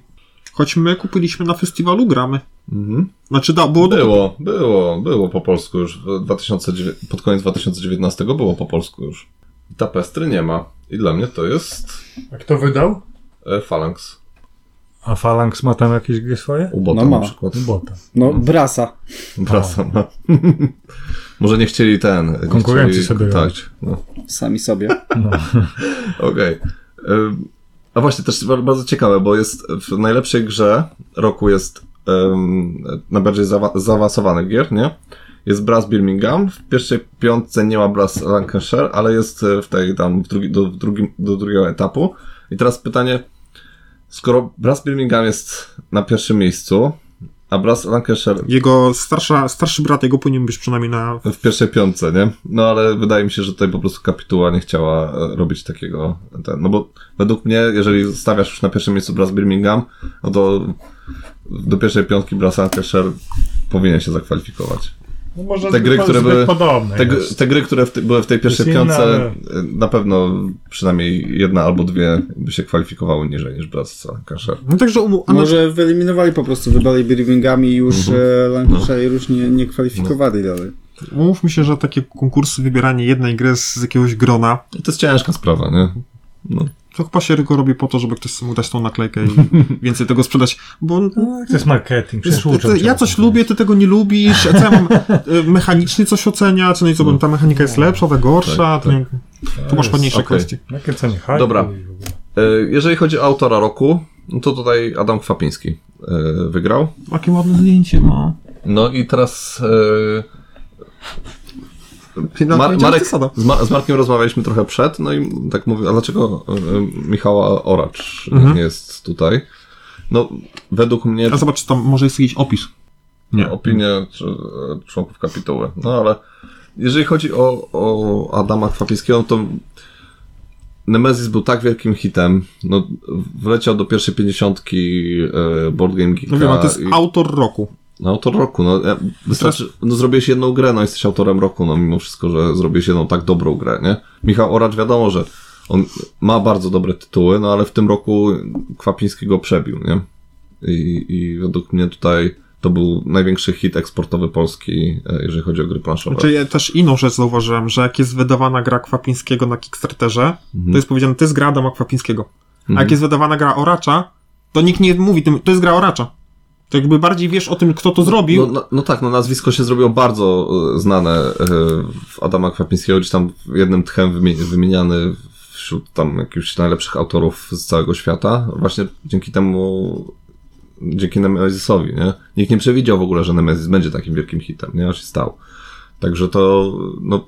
S4: Choć my kupiliśmy na festiwalu gramy.
S2: Mhm.
S4: Znaczy, da, było, do,
S2: Było, było, było po polsku już. W 2009, pod koniec 2019 było po polsku już. Tapestry nie ma. I dla mnie to jest
S3: A kto wydał?
S2: e, Phalanx.
S3: A Phalanx ma tam jakieś gry swoje?
S2: Ubota
S1: No ma.
S2: na przykład.
S3: Bota.
S1: No, brasa.
S2: Prasa ma. Może nie chcieli tak, no. ten. nie
S3: Konkurencji
S2: chcieli-
S3: sobie
S2: Tak.
S3: robić.
S2: No.
S1: Sami sobie.
S2: Okej. Ym, A właśnie, też ba- bardzo ciekawe, bo jest w najlepszej grze roku jest em, najbardziej zaawa- zaawansowanych gier, nie? Jest Brass Birmingham, w pierwszej piątce nie ma Brass Lancashire, ale jest e, w tej tam, w drugi, do, w drugim, do drugiego etapu. I teraz pytanie, skoro Brass Birmingham jest na pierwszym miejscu, a Brass Lancashire
S4: Jego starsza, starszy brat, jego powinien być przynajmniej na...
S2: w pierwszej piątce, nie? No ale wydaje mi się, że tutaj po prostu kapituła nie chciała e, robić takiego. Ten, no bo według mnie, jeżeli stawiasz już na pierwszym miejscu Brass Birmingham, no to do pierwszej piątki Brass Lancashire powinien się zakwalifikować.
S3: No może
S2: Te gry,
S3: zbyt-
S2: które
S3: zbyt
S2: były-
S3: podobne
S2: Te, gr-
S3: jest.
S2: te gry, które w te, były w tej pierwszej
S3: Jest inna,
S2: piątce,
S3: ale-
S2: e, na pewno przynajmniej jedna albo dwie by się kwalifikowały niżej niż Brass Lancashire.
S4: No także umu... a na-
S1: Może wyeliminowali po prostu, wybrali Birmingham i już mhm. Lancashire już nie, nie kwalifikowali
S2: No.
S1: dalej.
S4: umówmy się, że takie konkursy, wybieranie jednej gry z z jakiegoś grona,
S2: I to jest ciężka sprawa, nie? No,
S4: to chyba się tylko robi po to, żeby ktoś mógł dać tą naklejkę i więcej tego sprzedać, bo...
S3: No, To jest marketing,
S4: Ty,
S3: przecież uczą
S4: ty,
S3: cię
S4: ja
S3: o
S4: coś
S3: tym.
S4: lubię, ty tego nie lubisz, a co ja mam e, mechanicznie coś oceniać, no i co, bo ta mechanika jest lepsza, ta gorsza,
S2: Tak,
S4: to nie- tu masz
S3: jest-
S4: ładniejsze
S2: okej.
S4: kwestie.
S3: Nakręcenie hype'u
S2: Dobra.
S3: i w ogóle.
S2: E, Jeżeli chodzi o autora roku, no to tutaj Adam Kwapiński e, wygrał.
S4: Jakie ładne zdjęcie ma.
S2: No i teraz e, Mar- Marek, z, Ma- z Markiem rozmawialiśmy trochę przed, no i tak mówię, a dlaczego e, Michała Oracz
S4: Mhm.
S2: nie jest tutaj? No, według mnie
S4: A zobacz, tam może jest jakiś opis. Nie.
S2: opinie czy, e, członków kapituły. No ale jeżeli chodzi o, o Adama Kwapińskiego, to Nemesis był tak wielkim hitem, no, wleciał do pierwszej pięćdziesiątki e, Board Game Geeka.
S4: No wiem, a to jest
S2: i-
S4: autor roku.
S2: No, autor roku, no e, wystarczy, no zrobiłeś jedną grę, no jesteś autorem roku, no mimo wszystko, że zrobiłeś jedną tak dobrą grę, nie? Michał Oracz wiadomo, że on ma bardzo dobre tytuły, no ale w tym roku Kwapiński go przebił, nie? I, i według mnie tutaj to był największy hit eksportowy Polski, e, jeżeli chodzi o gry planszowe.
S4: Znaczy, ja też inną rzecz zauważyłem, że jak jest wydawana gra Kwapińskiego na Kickstarterze,
S2: Mhm.
S4: to jest powiedziane, to jest gra Adama Kwapińskiego. A jak jest wydawana gra Oracza, to nikt nie mówi, tym, to jest gra Oracza. To jakby bardziej wiesz o tym, kto to zrobił.
S2: No, no, no tak, no nazwisko się zrobiło bardzo e, znane e, w Adama Kwapińskiego, gdzieś tam jednym tchem wymie- wymieniany wśród tam jakichś najlepszych autorów z całego świata. Właśnie dzięki temu, dzięki Nemesisowi, nie? Nikt nie przewidział w ogóle, że Nemesis będzie takim wielkim hitem, nie? A się stał. Także to, no,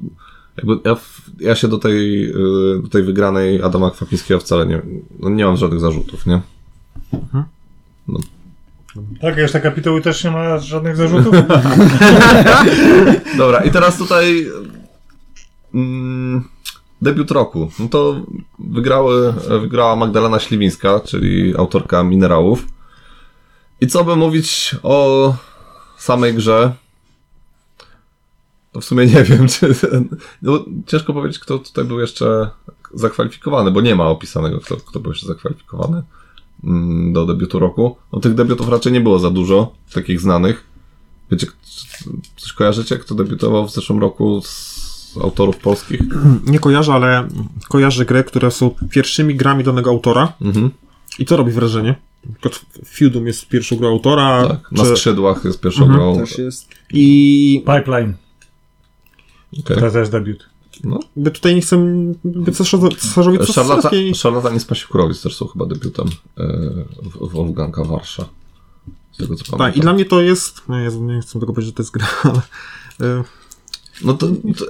S2: jakby ja, w- ja się do tej, y, do tej wygranej Adama Kwapińskiego wcale nie, no, nie mam żadnych zarzutów, nie?
S3: Tak, reszta kapituły też nie ma żadnych zarzutów?
S2: Dobra, i teraz tutaj mm, debiut roku. No to wygrały, wygrała Magdalena Śliwińska, czyli autorka Minerałów. I co by mówić o samej grze? To w sumie nie wiem, czy. No, bo ciężko powiedzieć, kto tutaj był jeszcze zakwalifikowany, bo nie ma opisanego, kto, kto był jeszcze zakwalifikowany mm, do debiutu roku. No, tych debiutów raczej nie było za dużo, takich znanych. Wiecie, k- coś kojarzycie, kto debiutował w zeszłym roku z autorów polskich?
S4: Nie kojarzę, ale kojarzę gry, które są pierwszymi grami danego autora
S2: Mhm,
S4: i to robi wrażenie. Na przykład Feudum jest pierwszą grą autora.
S2: tak. Na
S4: Czy...
S2: skrzydłach jest pierwszą
S4: Mhm,
S2: grą.
S1: Też jest.
S4: I
S3: Pipeline,
S2: Okej.
S4: tak.
S2: No.
S3: to też debiut.
S4: jakby tutaj nie chcę być cesarzowi
S2: Szarlata,
S4: cesarskiej.
S2: Szarlatan i Spasikurowic też są chyba debiutem e, w- Wolfganga Warsza. Z tego co
S4: Tak, i
S2: pamiętam.
S4: dla mnie to jest. No Jezu, nie chcę tego powiedzieć, że to jest gra, ale. y,
S2: No to,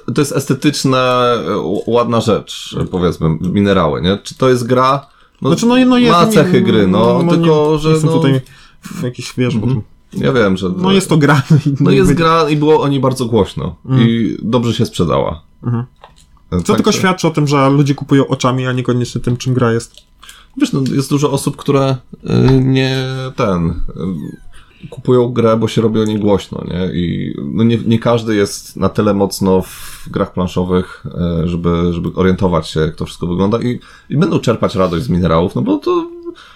S2: to, to jest estetyczna, e, ł- ładna rzecz, e, powiedzmy, minerały, nie? Czy to jest gra? No,
S4: Znaczy, no, no jest.
S2: ma
S4: nie-
S2: cechy gry, no,
S4: nie-
S2: tylko, że
S4: Nie jestem
S2: no,
S4: tutaj w jakiś wiesz, bo
S2: Mhm. ja wiem, że...
S4: No jest to gra. i
S2: no
S4: nie
S2: jest
S4: będzie-
S2: gra i było o niej bardzo głośno.
S4: Mhm.
S2: I dobrze się sprzedała.
S4: Mhm.
S2: E,
S4: Co tylko
S2: także-
S4: świadczy o tym, że ludzie kupują oczami, a niekoniecznie tym, czym gra jest.
S2: Wiesz, no, jest dużo osób, które y, nie ten. y, Kupują grę, bo się robi o niej głośno, nie? I no nie, nie każdy jest na tyle mocno w grach planszowych, y, żeby, żeby orientować się, jak to wszystko wygląda i, i będą czerpać radość z minerałów, no bo to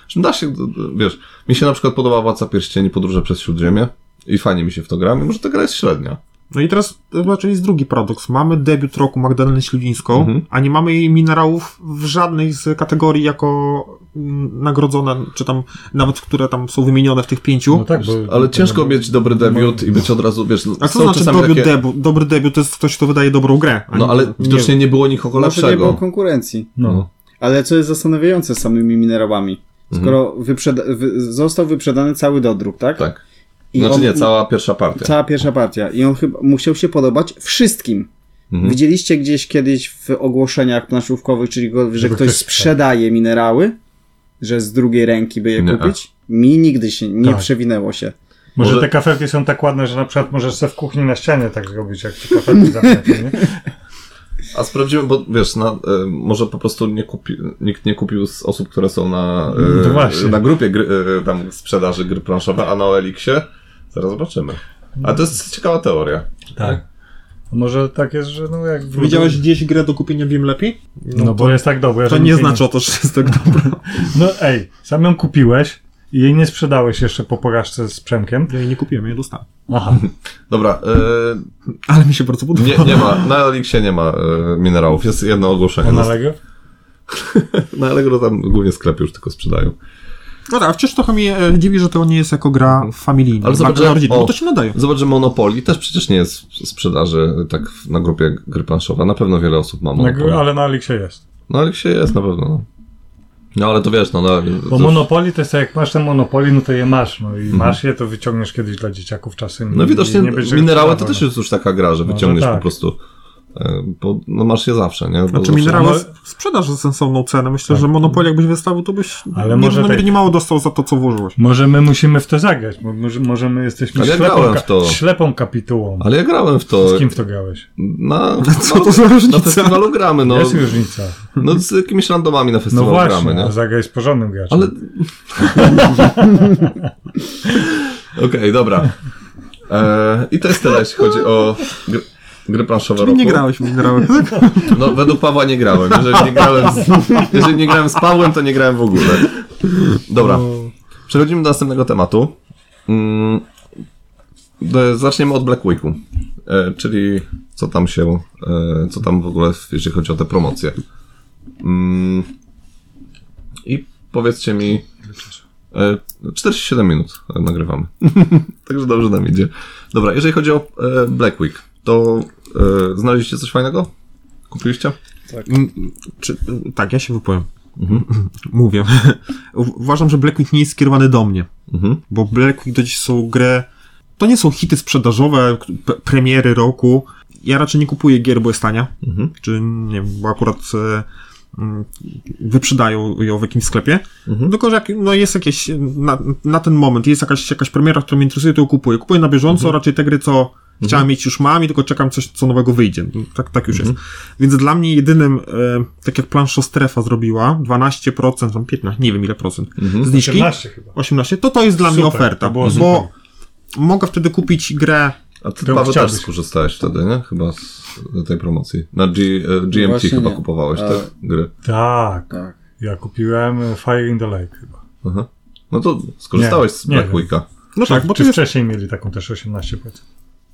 S2: że da się, y, wiesz, mi się na przykład podoba Władca Pierścieni, Podróże przez Śródziemie i fajnie mi się w to gra, mimo że ta gra jest średnia.
S4: No i teraz raczej jest drugi paradoks. Mamy debiut roku Magdaleny Śliwińską,
S2: Mhm.
S4: a nie mamy jej minerałów w żadnej z kategorii jako mm, nagrodzone, czy tam nawet które tam są wymienione w tych pięciu.
S3: No tak, bo,
S2: Ale ciężko mieć dobry debiut i być od razu, wiesz,
S4: a co
S2: są
S4: to znaczy
S2: czasami
S4: dobry, debu- dobry debiut? To jest ktoś, kto wydaje dobrą grę.
S2: No
S4: a nie- Znaczy,
S2: ale widocznie nie było nikogo
S1: Może Znaczy, nie było
S2: lepszego.
S1: konkurencji.
S3: No.
S2: No.
S1: Ale co jest zastanawiające z samymi minerałami?
S2: Mhm.
S1: Skoro wyprzeda- wy- został wyprzedany cały dodruk, tak?
S2: Tak.
S1: I
S2: Znaczy
S1: on-
S2: nie, cała pierwsza partia.
S1: Cała pierwsza partia. I on chyba musiał się podobać wszystkim.
S2: Mhm.
S1: Widzieliście gdzieś kiedyś w ogłoszeniach planszówkowych, czyli go- że
S3: Żeby
S1: ktoś
S3: ktoś-
S1: sprzedaje minerały, że z drugiej ręki by je
S2: Nie.
S1: kupić? Mi nigdy się nie
S3: Tak.
S1: przewinęło się.
S3: Może,
S2: Może-
S3: te kafelki są tak ładne, że na przykład możesz sobie w kuchni na ścianie tak zrobić, jak te kafelki zamknięte, nie?
S2: A sprawdziłem, bo wiesz, na, e, może po prostu nie kupi, nikt nie kupił z osób, które są na,
S3: No
S2: e,
S3: właśnie.
S2: na grupie gry, e, tam sprzedaży gry planszowe, a na Elixie zaraz zobaczymy. A to jest ciekawa teoria.
S3: Tak. Może tak jest, że no jak... w-
S4: Widziałeś gdzieś grę do kupienia Wiem Lepiej?
S3: No bo jest tak dobre,
S4: To
S3: że
S4: nie
S3: nic
S4: znaczy o to, że jest tak dobra.
S3: No ej, sam ją kupiłeś i jej nie sprzedałeś jeszcze po porażce z Przemkiem.
S4: Ja jej nie kupiłem, ja ją dostałem.
S3: Aha.
S2: Dobra, e,
S4: Ale mi się bardzo podoba.
S2: nie, nie ma, na Elixie nie ma e, minerałów, jest jedno ogłoszenie.
S3: On
S2: Na,
S3: Allegro?
S2: na Allegro tam głównie sklepy już tylko sprzedają.
S4: No tak, a wciąż trochę mnie e, dziwi, że to nie jest jako gra familijna.
S2: Ale
S4: Ale
S2: zobacz,
S4: gra
S2: że- o.
S4: rodziny,
S2: No
S4: bo to się nadaje.
S2: Zobacz, że Monopoly też przecież nie jest w sprzedaży tak w- na grupie gry planszowe. Na pewno wiele osób ma
S3: Na gr-
S2: Monopoly.
S3: ale na Alixie jest.
S2: Na Elixie jest na pewno. no. No ale to wiesz, no... Na,
S3: Bo
S2: to-
S3: Monopoly to jest tak, jak masz ten Monopoly, no to je masz. No i masz je, to wyciągniesz kiedyś dla dzieciaków czasem.
S2: Mhm. No
S3: i
S2: widocznie
S3: nie będziesz
S2: minerały to
S3: sprzedawał.
S2: też jest już taka gra, że
S3: Może
S2: wyciągniesz po
S3: tak.
S2: prostu. e, Bo no masz je zawsze, nie? Bo
S4: Znaczy
S2: zawsze...
S4: minerały
S3: No-
S4: sprzedaż za sensowną cenę. Myślę, że Monopoly jakbyś wystawił, to byś
S3: Ale
S4: Ale
S3: może
S4: nie, no,
S3: tak-
S4: nie mało dostał za to, co włożyłeś.
S3: Może my musimy w to zagrać, bo może, może my jesteśmy
S2: Ale ja
S3: ślepą,
S2: grałem
S3: ka-
S2: w to.
S3: ślepą kapitułą.
S2: Ale ja grałem w to.
S3: Z kim w to grałeś?
S2: Na,
S4: Co to za
S2: na
S4: różnica?
S2: festiwalu gramy, no.
S3: Jest różnica.
S2: No z jakimiś randomami na
S3: No
S2: festiwalu
S3: właśnie,
S2: gramy, nie?
S3: a zagraj z porządnym graczem.
S2: Ale. Okej, dobra. E, I to jest tyle, jeśli chodzi o gry, gry planszowe
S4: Czyli nie
S2: roku.
S4: grałeś w minerały.
S2: No, według Pawła nie grałem. Jeżeli nie grałem, z, jeżeli nie grałem z Pawłem, to nie grałem w ogóle. Dobra. Przechodzimy do następnego tematu. Mm, do- Zaczniemy od Black Weeku. E, Czyli co tam się, e, co tam w ogóle, jeśli chodzi o te promocje. Mm, I powiedzcie mi. e, 47 minut e, nagrywamy. Także dobrze nam idzie. Dobra, jeżeli chodzi o e, Black Week, to e, znaleźliście coś fajnego? Kupiliście?
S4: Mm, Czy, tak, ja się wypowiem. Mhm. Mówię. U- Uważam, że Black Week nie jest skierowany do mnie,
S2: Mhm.
S4: bo Black Week to dziś są gry. To nie są hity sprzedażowe, k- p- premiery roku. Ja raczej nie kupuję gier, bo jest tania.
S2: Mhm.
S4: Czy nie wiem, bo akurat e, mm, wyprzedają ją w jakimś sklepie.
S2: Mhm.
S4: Tylko, że jak, no jest jakieś, na, na ten moment jest jakaś, jakaś premiera, która mnie interesuje, to ją kupuję. Kupuję na bieżąco,
S2: Mhm.
S4: raczej te gry, co chciałem mieć, już mam i tylko czekam, coś, co nowego wyjdzie. Tak,
S2: Mhm.
S4: tak już jest. Więc dla mnie jedynym, e, tak jak plansza strefa zrobiła, 12%, tam 15, nie wiem ile procent, zniżki.
S3: 18 chyba.
S4: 18, to to jest dla mnie
S3: No Super,
S4: oferta,
S3: to było
S4: bo
S3: super.
S4: mogę wtedy kupić grę
S2: A ty,
S3: To
S2: Paweł, też
S3: chciałbyś.
S2: skorzystałeś wtedy, nie? Chyba z tej promocji. Na G,
S3: No
S2: e, GMT
S1: Właśnie
S2: chyba
S1: nie.
S2: kupowałeś,
S1: A-
S2: tak? Gry.
S3: Tak.
S1: Tak.
S3: Ja kupiłem e, Fire in the Lake chyba.
S2: Aha. No to skorzystałeś
S3: Nie,
S2: z Black
S3: nie wiem.
S2: Weeka.
S4: No
S3: czy,
S4: tak, bo
S3: czy
S4: to jest.
S3: wcześniej mieli taką też 18%?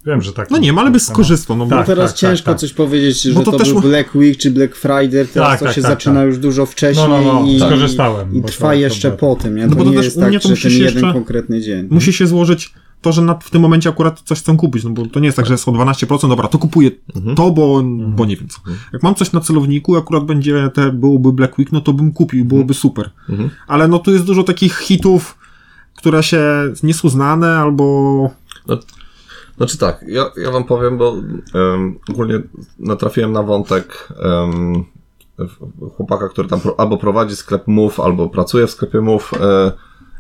S3: Wiem, że tak.
S4: No nie, ma, ale by skorzystał. No, bo
S1: No
S3: Tak,
S1: teraz
S3: tak,
S1: ciężko
S3: tak, tak.
S1: coś powiedzieć, że
S4: Bo
S1: to,
S4: to też
S1: był
S4: mu-
S1: Black Week czy Black Friday, teraz
S3: Tak,
S1: to
S3: tak,
S1: się
S3: tak,
S1: zaczyna
S3: tak.
S1: już dużo wcześniej
S3: No, no, no,
S1: i,
S3: skorzystałem,
S1: i
S3: bo
S1: trwa
S3: to-
S1: jeszcze
S3: to-
S1: po tym, nie?
S4: No
S1: To
S4: bo
S1: nie
S4: też
S1: jest
S4: u
S1: tak,
S4: mnie to
S1: że
S4: musi
S1: ten
S4: się
S1: jeden
S4: jeszcze-
S1: konkretny dzień.
S4: musi się złożyć to, że na, w tym momencie akurat coś chcę kupić, no bo to nie jest tak, że jest o 12%, dobra, to kupuję
S3: Mhm.
S4: to, bo, bo nie wiem co. Jak mam coś na celowniku, akurat będzie te, byłoby Black Week, no to bym kupił, byłoby
S3: Mhm.
S4: super. Ale no tu jest dużo takich hitów, które się nie są znane, albo
S2: Znaczy tak, ja, ja wam powiem, bo em, ogólnie natrafiłem na wątek em, w- chłopaka, który tam pro, albo prowadzi sklep MOVE, albo pracuje w sklepie MOVE e,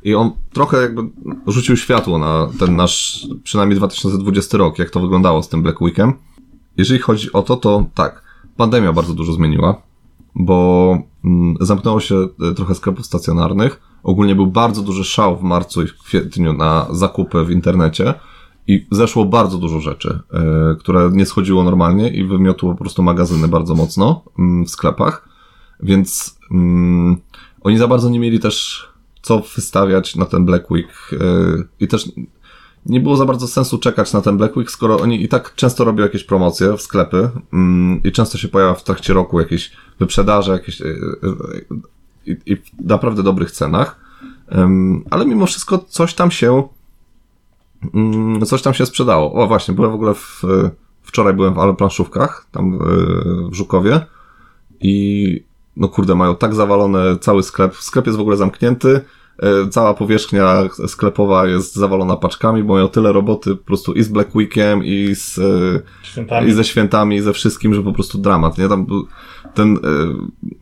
S2: i on trochę jakby rzucił światło na ten nasz przynajmniej 2020 rok, jak to wyglądało z tym Black Weekiem. Jeżeli chodzi o to, to tak, pandemia bardzo dużo zmieniła, bo mm, zamknęło się e, trochę sklepów stacjonarnych. Ogólnie był bardzo duży szał w marcu i w kwietniu na zakupy w internecie i zeszło bardzo dużo rzeczy, e, które nie schodziło normalnie i wymiotło po prostu magazyny bardzo mocno mm, w sklepach, więc mm, oni za bardzo nie mieli też co wystawiać na ten Black Week e, i też nie było za bardzo sensu czekać na ten Black Week, skoro oni i tak często robią jakieś promocje w sklepy mm, i często się pojawia w trakcie roku jakieś wyprzedaże, jakieś e, e, e, i, i w naprawdę dobrych cenach, Em, ale mimo wszystko coś tam się Mm, coś tam się sprzedało. O właśnie, byłem w ogóle w, e, wczoraj byłem w Alplanszówkach, tam e, w Żukowie i no kurde, mają tak zawalony cały sklep. Sklep jest w ogóle zamknięty. E, Cała powierzchnia sklepowa jest zawalona paczkami, bo mają tyle roboty po prostu i z Black Weekiem, i z e,
S5: Świętami.
S2: i ze świętami, i ze wszystkim, że po prostu dramat, nie? Tam był ten e,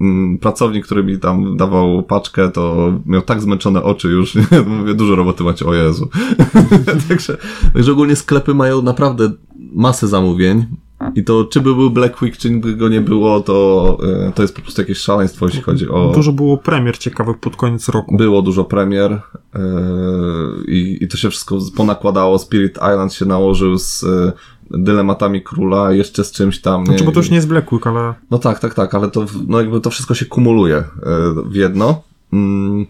S2: mm, pracownik, który mi tam dawał paczkę, to miał tak zmęczone oczy już, nie? Mówię, dużo roboty macie, o Jezu. także, także ogólnie sklepy mają naprawdę masę zamówień i to czy by był Black Week, czy by go nie było, to, e, to jest po prostu jakieś szaleństwo, jeśli chodzi o...
S4: Dużo było premier ciekawych pod koniec roku.
S2: Było dużo premier e, i, i to się wszystko z- ponakładało. Spirit Island się nałożył z e, dylematami króla, jeszcze z czymś tam.
S4: Znaczy, bo to już nie jest Black Week, ale
S2: No tak, tak, tak, ale to, w- no jakby to wszystko się kumuluje e, w jedno. Mm,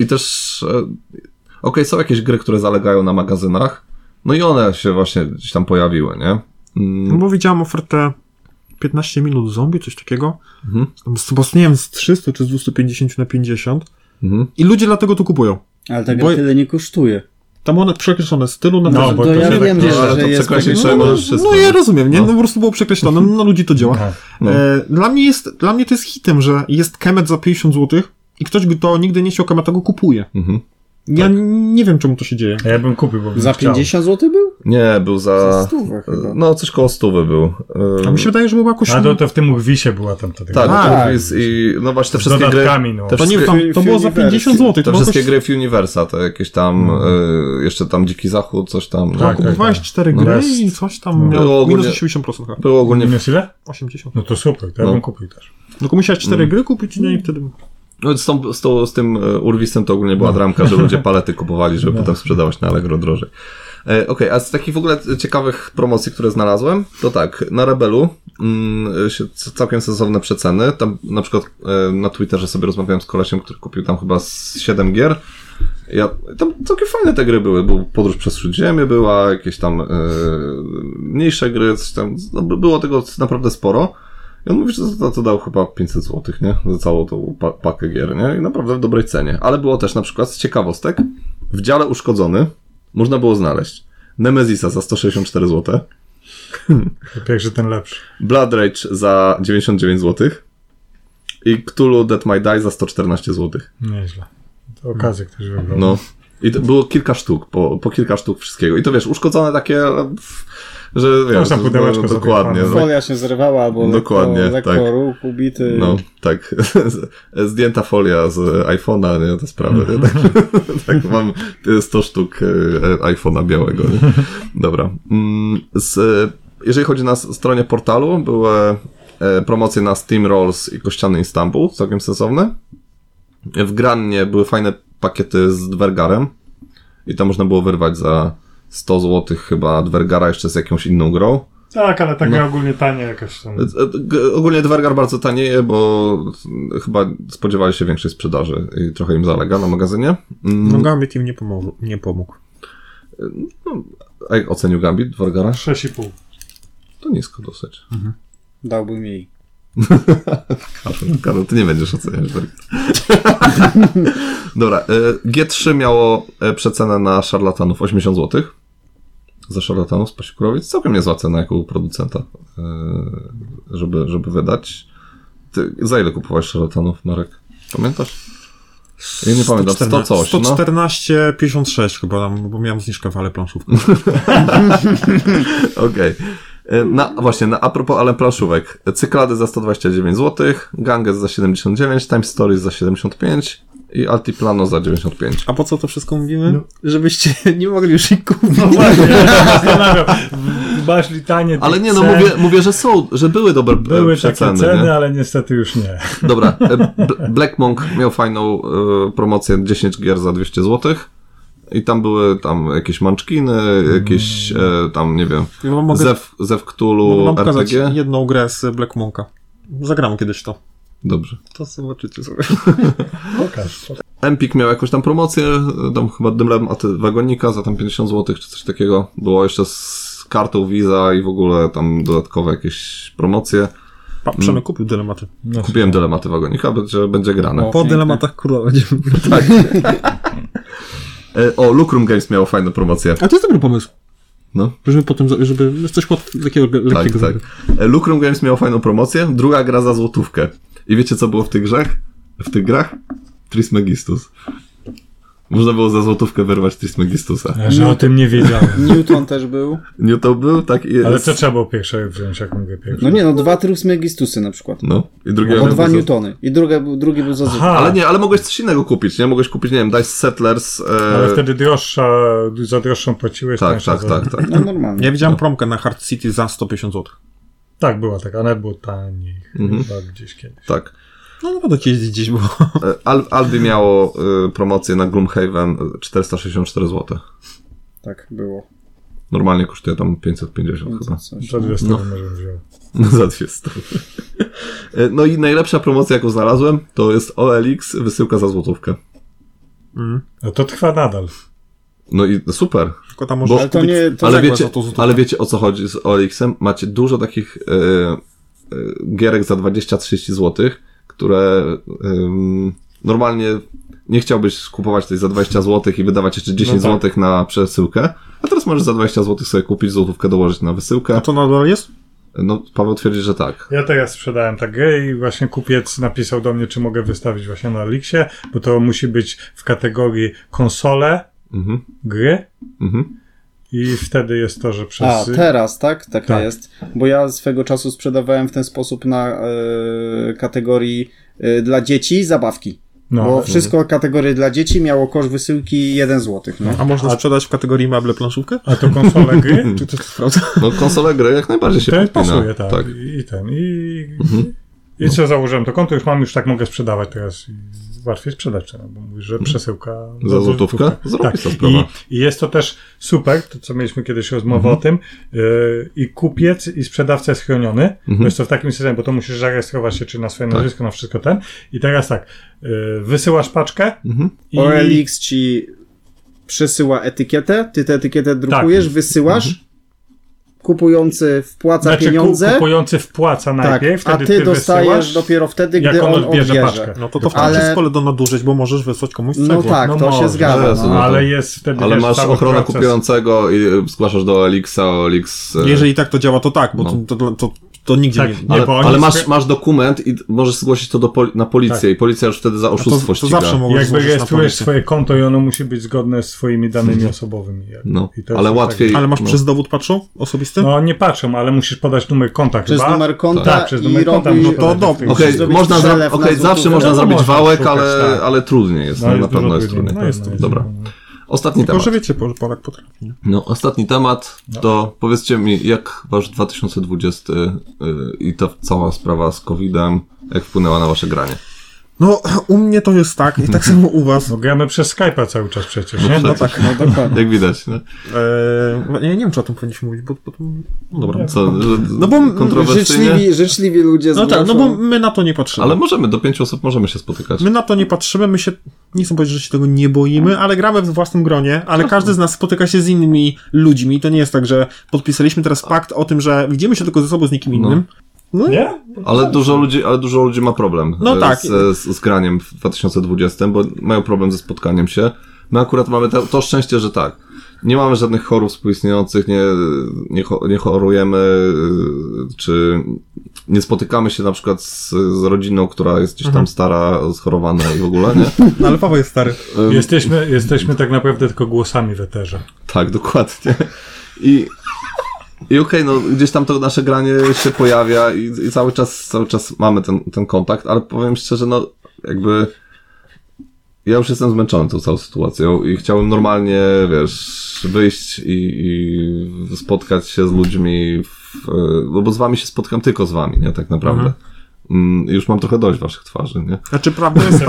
S2: I też, e, okej, są jakieś gry, które zalegają na magazynach, no i one się właśnie gdzieś tam pojawiły, nie?
S4: No
S2: Mm,
S4: bo widziałem ofertę 15 minut zombie, coś takiego.
S2: Mhm.
S4: Tam Z, chyba, z, nie wiem, z 300 czy z 250 na 50.
S2: mhm.
S4: I ludzie dlatego to kupują.
S1: Ale tak
S4: Bo-
S1: jak tyle nie kosztuje.
S4: Tam one przekreślone z tylu na
S3: No,
S4: wyżej.
S3: bo
S1: to
S3: to
S1: ja
S3: się
S1: wiem,
S3: tak-
S1: że,
S2: No, ale
S1: że
S2: to
S1: jest
S2: przekroczy
S1: tak-
S2: się-
S4: no,
S2: masz
S4: no,
S2: wszystko.
S4: no ja rozumiem, nie?
S2: No.
S4: No po prostu było przekreślone, no, na ludzi to działa.
S3: Aha.
S2: No.
S4: E, dla, mnie jest, dla mnie to jest hitem, że jest Kemet za 50 zł i ktoś, kto nigdy nie chciał Kemeta, go kupuje.
S2: Mhm.
S4: Ja n- nie wiem, czemu to się dzieje.
S3: A ja bym kupił, bo bym
S1: Za
S3: chciał.
S1: 50 zł był?
S2: Nie, był
S1: Za
S2: za...
S1: stówę chyba.
S2: No, coś koło stówy był. E,
S4: A mi się wydaje, że było jakoś...
S3: A to, to w tym Urwisie była tam ta
S2: Tak,
S4: Tak.
S2: tak. i no właśnie te
S3: z
S2: wszystkie gry.
S3: dodatkami, no.
S2: te
S4: to, nie,
S2: wszystkie-
S4: tam, to było za
S1: Universe.
S4: 50 zł.
S2: Te
S4: było
S2: wszystkie
S4: jakoś-
S2: gry w Universa, te jakieś tam, y, jeszcze tam Dziki Zachód, coś tam. no.
S4: Tak,
S3: Tak, tak,
S4: kupowałeś
S3: tak.
S4: cztery
S3: No.
S4: gry
S3: Jest.
S4: i coś tam
S2: No.
S4: miało
S2: Ogólnie-
S4: minus 80% chyba.
S2: Było ogólnie.
S3: Minus ile?
S4: 80.
S3: No to super, to ja
S2: No.
S3: bym kupił też.
S4: Tylko musiałeś cztery gry kupić nie, i wtedy...
S2: No, z, tą, z, tą, z tym y, Urwisem to ogólnie była dramka, że ludzie palety kupowali, żeby potem sprzedawać na Allegro drożej. E, Okej, a z takich w ogóle ciekawych promocji, które znalazłem, to tak, na Rebelu mm, się c- całkiem sensowne przeceny. Tam na przykład e, na Twitterze sobie rozmawiałem z kolesiem, który kupił tam chyba z 7 gier. Ja, tam całkiem fajne te gry były, bo Podróż przez Śródziemie była, jakieś tam e, mniejsze gry, coś tam, no, by- było tego naprawdę sporo. I on mówi, że za to dał chyba 500 zł, nie? Za całą tą pa- pakę gier, nie? I naprawdę w dobrej cenie. Ale było też na przykład z ciekawostek, w dziale uszkodzony można było znaleźć Nemesisa za 164 zł,
S3: Pierwszy ten lepszy.
S2: Blood Rage za 99 zł i Cthulhu Dead My Die za 114 zł.
S3: Nieźle. To okazję ktoś wybrał.
S2: No. I to było kilka sztuk, po, po kilka sztuk wszystkiego. I to wiesz, uszkodzone takie, pff, że wiesz,
S3: tam pudełeczko
S2: no,
S3: sobie
S2: dokładnie.
S3: pan-
S2: tak.
S1: Folia się zerwała albo
S2: Dokładnie,
S1: lekko, lekko
S2: tak.
S1: ruch ubity.
S2: No, tak. Zdjęta folia z iPhone'a, nie? Te sprawy. Nie? Tak, tak, mam 100 sztuk e, iPhone'a białego. Nie? Dobra. Mm, Z, e, jeżeli chodzi na stronie portalu, były e, promocje na Steam Rolls i Kościany Istanbul, całkiem sensowne. W Grannie były fajne pakiety z Dwergarem i to można było wyrwać za 100 zł chyba Dwergara jeszcze z jakąś inną grą.
S3: Tak, ale taka
S2: No.
S3: ogólnie tania jakaś tam.
S2: E- G- Ogólnie Dwergar bardzo tanieje, bo chyba spodziewali się większej sprzedaży i trochę im zalega na magazynie. Mm,
S4: No Gambit im nie pomógł. Nie pomógł.
S2: A jak ocenił Gambit Dwergara?
S3: 6,5.
S2: To nisko dosyć.
S1: Dałbym jej.
S2: Karol, Karol, ty nie będziesz oceniać Dwergara. Dobra, y, G3 miało e, przecenę na szarlatanów 80 zł. Za szarlatanów z Pasikurowic. Całkiem niezła cena jako u producenta, y, żeby, żeby wydać. Ty, za ile kupowałeś szarlatanów, Marek? Pamiętasz? Ja nie pamiętam, 100 coś, no.
S4: 114,56 chyba tam, bo miałem zniżkę w ale planszówkę.
S2: Okej. E, Na, właśnie, na, a propos ale planszówek. Cyklady za 129 zł, Ganges za 79, Time Stories za 75 i Altiplano za 95.
S4: A po co to wszystko mówimy? Żebyście nie mogli już ich kupić.
S3: No właśnie, ja się zastanawiam. W- Baszli tanie.
S2: Ale
S3: tych
S2: nie, no
S3: cen.
S2: mówię, mówię że są, że były dobre
S3: Były
S2: Były
S3: takie
S2: przeceny.
S3: ceny,
S2: nie?
S3: ale niestety już nie.
S2: Dobra, e, Bl- Black Monk miał fajną e, promocję 10 gier za 200 zł. I tam były tam jakieś manczkiny, jakieś e, tam, nie wiem,
S4: Ja wam mogę,
S2: Zew, Zew
S4: mogę
S2: Cthulhu,
S4: wam pokazać
S2: RPG.
S4: jedną grę z Black Monka. Zagram kiedyś to.
S2: Dobrze.
S4: To zobaczycie sobie.
S3: Pokaż.
S2: Empik miał jakąś tam promocję, e, tam chyba dylematy wagonika za tam 50 zł czy coś takiego. Było jeszcze z kartą Visa i w ogóle tam dodatkowe jakieś promocje.
S4: Pa, Przemek kupił dylematy.
S3: No,
S2: Kupiłem dylematy wagonika, będzie, będzie grane.
S1: O.
S4: Po
S1: Piękne.
S4: dylematach króla będziemy.
S2: E, O, Lucrum Games miało fajne promocje.
S4: A to jest dobry pomysł.
S2: No.
S4: Żeby potem, za- żeby coś łatw- takiego le-
S2: Tak, tak.
S4: lekkiego zrobić.
S2: E, Lucrum Games miało fajną promocję, druga gra za złotówkę. I wiecie, co było w tych grzech? W tych grach? Trismegistus. Można było za złotówkę wyrwać Trismegistusa.
S3: Że o tym nie wiedziałem.
S1: Newton też był.
S2: Newton był, tak i jest.
S3: Ale co trzeba było pierwsze wziąć, jak mówię pierwsze?
S1: No nie, no dwa trysmegistusy na przykład.
S2: No, i drugie...
S1: Bo dwa newtony. I drugie, był- drugi był za zwykłe.
S3: Aha,
S2: Ale No nie, ale mogłeś coś innego kupić, nie? Mogłeś kupić, nie wiem, Dice Settlers... E...
S3: ale wtedy droższa, za droższą płaciłeś.
S2: Tak,
S3: tańsza
S2: tak,
S3: za-
S2: tak, tak.
S1: No normalnie.
S4: Ja widziałem promkę na Hard City za 150 zł.
S3: Tak, była taka, nawet było taniej
S2: Mhm.
S3: chyba gdzieś kiedyś.
S2: tak.
S4: No naprawdę gdzieś, gdzieś było.
S2: E, Al Aldi miało y, promocję na Gloomhaven e, 464 zł.
S1: Tak było.
S2: Normalnie kosztuje tam 550 chyba.
S1: Coś.
S3: Za dwie strony może wziąłem.
S2: No za 200. E, No i najlepsza promocja, jaką znalazłem, to jest OLX wysyłka za złotówkę.
S3: No to trwa nadal.
S2: No i super.
S4: Tylko tam możesz
S2: Ale
S1: to
S4: kupić
S1: nie- to
S2: ale,
S4: cegłę
S3: tak
S2: wiecie,
S4: za to złotówkę.
S2: ale wiecie o co chodzi z OLX-em? Macie dużo takich e, e, gierek za 20-30 zł, które em, normalnie nie chciałbyś kupować tej za 20 zł i wydawać jeszcze 10
S3: No tak.
S2: zł na przesyłkę, a teraz możesz za 20 zł sobie kupić złotówkę, dołożyć na
S4: A
S2: wysyłkę.
S4: to nadal jest?
S2: No Paweł twierdzi, że tak.
S3: Ja teraz sprzedałem tak grę i właśnie kupiec napisał do mnie, czy mogę wystawić właśnie na Elixie, bo to musi być w kategorii konsole,
S2: Mhm,
S3: gry
S2: mhm.
S3: i wtedy jest to, że przez...
S1: A, teraz, tak? Taka
S3: Tak.
S1: jest. Bo ja swego czasu sprzedawałem w ten sposób na e, kategorii e, dla dzieci zabawki.
S3: No.
S1: bo wszystko kategorie dla dzieci miało koszt wysyłki 1 zł. No.
S4: A można sprzedać w kategorii meble planszówkę?
S3: A to konsole gry?
S4: Czy to jest prawda?
S2: No konsole gry jak najbardziej się
S3: To
S2: podpina. Mhm.
S3: pasuje, tak. I i ten, i... I co, założyłem to konto, już mam, już tak mogę sprzedawać teraz. I łatwiej sprzedać, no, bo mówisz, że przesyłka...
S2: Mhm. Za złotówkę? Zrobię
S3: Tak.
S2: to
S3: I,
S2: sprawę.
S3: I jest to też super, to co mieliśmy kiedyś rozmowę
S2: Mhm.
S3: o tym, yy, i kupiec, i sprzedawca jest chroniony,
S2: Mhm.
S3: bo jest to w takim systemie, bo to musisz zarejestrować się, czy na
S2: Tak.
S3: swoje nazwisko, na wszystko ten. I teraz tak, yy, wysyłasz paczkę
S2: Mhm.
S3: i...
S1: OLX ci przesyła etykietę, ty tę
S3: Tak.
S1: etykietę drukujesz, wysyłasz, kupujący wpłaca
S3: Mhm. Znaczy,
S1: pieniądze,
S3: ku- kupujący wpłaca
S1: tak,
S3: najpierw,
S1: a
S3: wtedy
S1: ty,
S3: ty,
S1: dostajesz
S3: wysyłasz,
S1: dopiero wtedy,
S3: jak
S1: gdy
S3: on
S1: on
S3: odbierze
S1: odbierze.
S3: paczkę.
S4: No to to wtedy
S1: Ale-
S4: jest pole do nadużyć, bo możesz wysłać komuś cegłę.
S1: No tak,
S3: No
S1: to się
S3: może.
S1: zgadza.
S2: Jezu,
S1: No.
S2: no.
S3: Ale jest wtedy...
S2: Ale
S3: wiesz,
S2: masz
S3: cały
S2: ochronę
S3: proces.
S2: kupującego i e, zgłaszasz do OLX-a, OLX... e,
S4: Jeżeli tak, to działa to tak, bo
S2: No.
S4: to, to, to, to nigdzie
S3: Tak,
S4: nie...
S3: nie,
S2: Ale,
S3: bo oni
S2: ale masz,
S3: spra-
S2: masz dokument i możesz zgłosić to do poli- na policję
S3: Tak.
S2: i policja już wtedy za
S4: A To,
S2: oszustwo
S4: to
S2: ściga.
S4: zawsze mogłeś
S3: Jakby
S4: złożyć na
S3: rejestrujesz
S4: policję.
S3: swoje konto i ono musi być zgodne z swoimi danymi osobowymi. jak-
S2: No,
S3: I to
S2: ale
S3: jest tak-
S2: łatwiej...
S4: Ale masz
S2: no.
S4: przez dowód patrzą osobisty?
S3: No nie patrzą, ale musisz podać numer konta
S1: Przez
S3: chyba.
S1: numer konta
S3: Tak, przez numer
S1: i
S3: konta
S1: robi...
S3: można
S4: to
S3: podać
S4: dobra.
S3: do
S2: Okej,
S1: Musisz zrobić
S2: można zra-
S1: przelew na
S2: okej, zawsze
S1: złotówkę.
S2: można
S1: No,
S2: zrobić
S3: można
S2: wałek,
S3: szukać,
S2: ale,
S3: tak.
S2: ale trudniej jest,
S3: No,
S2: no,
S3: jest
S2: na pewno
S3: dużo
S2: jest
S3: trudniej,
S2: trudniej.
S3: no, jest trudniej.
S2: Dobra. Ostatni
S4: Tylko,
S2: temat.
S4: że wiecie, Pol- Polak potrafi. nie?
S2: No, ostatni temat to powiedzcie mi, jak wasz 2020 y, i ta cała sprawa z COVID-em, jak wpłynęła na wasze granie?
S4: No, u mnie to jest tak i tak samo u was.
S3: No gramy przez Skype'a cały czas przecież, nie?
S2: No
S4: tak.
S1: No dokładnie.
S2: Jak widać, no?
S4: Eee, nie, nie wiem, czy o tym powinniśmy mówić, bo... bo to... No dobra.
S2: Co, że
S4: No bo m-
S2: kontrowersyjnie,
S1: Życzliwi, życzliwi ludzie
S4: No tak, no
S1: zgłoszą-
S4: bo my na to nie patrzymy.
S2: ale możemy, do pięciu osób możemy się spotykać.
S4: My na to nie patrzymy, my się, nie chcę powiedzieć, że się tego nie boimy, ale gramy w własnym gronie, ale każdy z nas spotyka się z innymi ludźmi. To nie jest tak, że podpisaliśmy teraz pakt o tym, że widzimy się tylko ze sobą z nikim innym. No, i-
S3: Nie?
S2: Ale dużo ludzi, ale dużo ludzi ma problem
S4: No
S2: e,
S4: tak.
S2: z, z, z graniem w 2020, bo mają problem ze spotkaniem się. My akurat mamy to, to szczęście, że tak. Nie mamy żadnych chorób współistniejących, nie, nie, cho- nie chorujemy, e, czy nie spotykamy się na przykład z, z rodziną, która jest gdzieś
S4: Mhm.
S2: tam stara, schorowana i w ogóle, nie?
S4: no ale Paweł jest stary.
S3: Jesteśmy, jesteśmy tak naprawdę tylko głosami w eterze.
S2: Tak, dokładnie. I, i okej, no gdzieś tam to nasze granie się pojawia i, i cały czas cały czas mamy ten, ten kontakt, ale powiem szczerze, no jakby ja już jestem zmęczony tą całą sytuacją i chciałem normalnie, wiesz, wyjść i, i spotkać się z ludźmi, w, no bo z wami się spotkam tylko z wami, nie, tak naprawdę.
S3: Mhm.
S2: Mm, już mam trochę dość waszych twarzy, nie?
S4: Znaczy, prawda jest,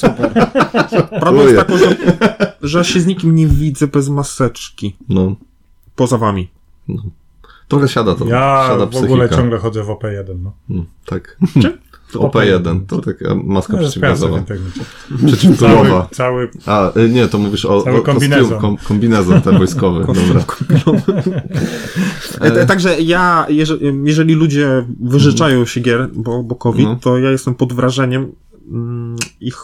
S3: Super.
S4: prawda jest
S2: Ujej.
S4: taka, że, że się z nikim nie widzę bez maseczki.
S2: No,
S4: Poza wami.
S2: trochę siada to,
S3: Ja
S2: siada
S3: w ogóle
S2: psychika.
S3: ciągle chodzę w OP1. No.
S2: Mm, tak.
S4: Czy?
S2: OP1, to taka maska
S3: To jest praca w
S2: przeciwgazowa.
S3: internecie. Cały,
S2: Przeciwgazowa.
S3: cały,
S2: A, y, nie, to mówisz o,
S3: Cały
S2: o
S3: kombinezon.
S2: kostium, kom, kombinezon ten wojskowy. Dobra.
S4: E, e, Także ja, jeżeli, jeżeli ludzie Mhm. wyrzeczają się gier, bo, bo COVID,
S2: No.
S4: to ja jestem pod wrażeniem mm, ich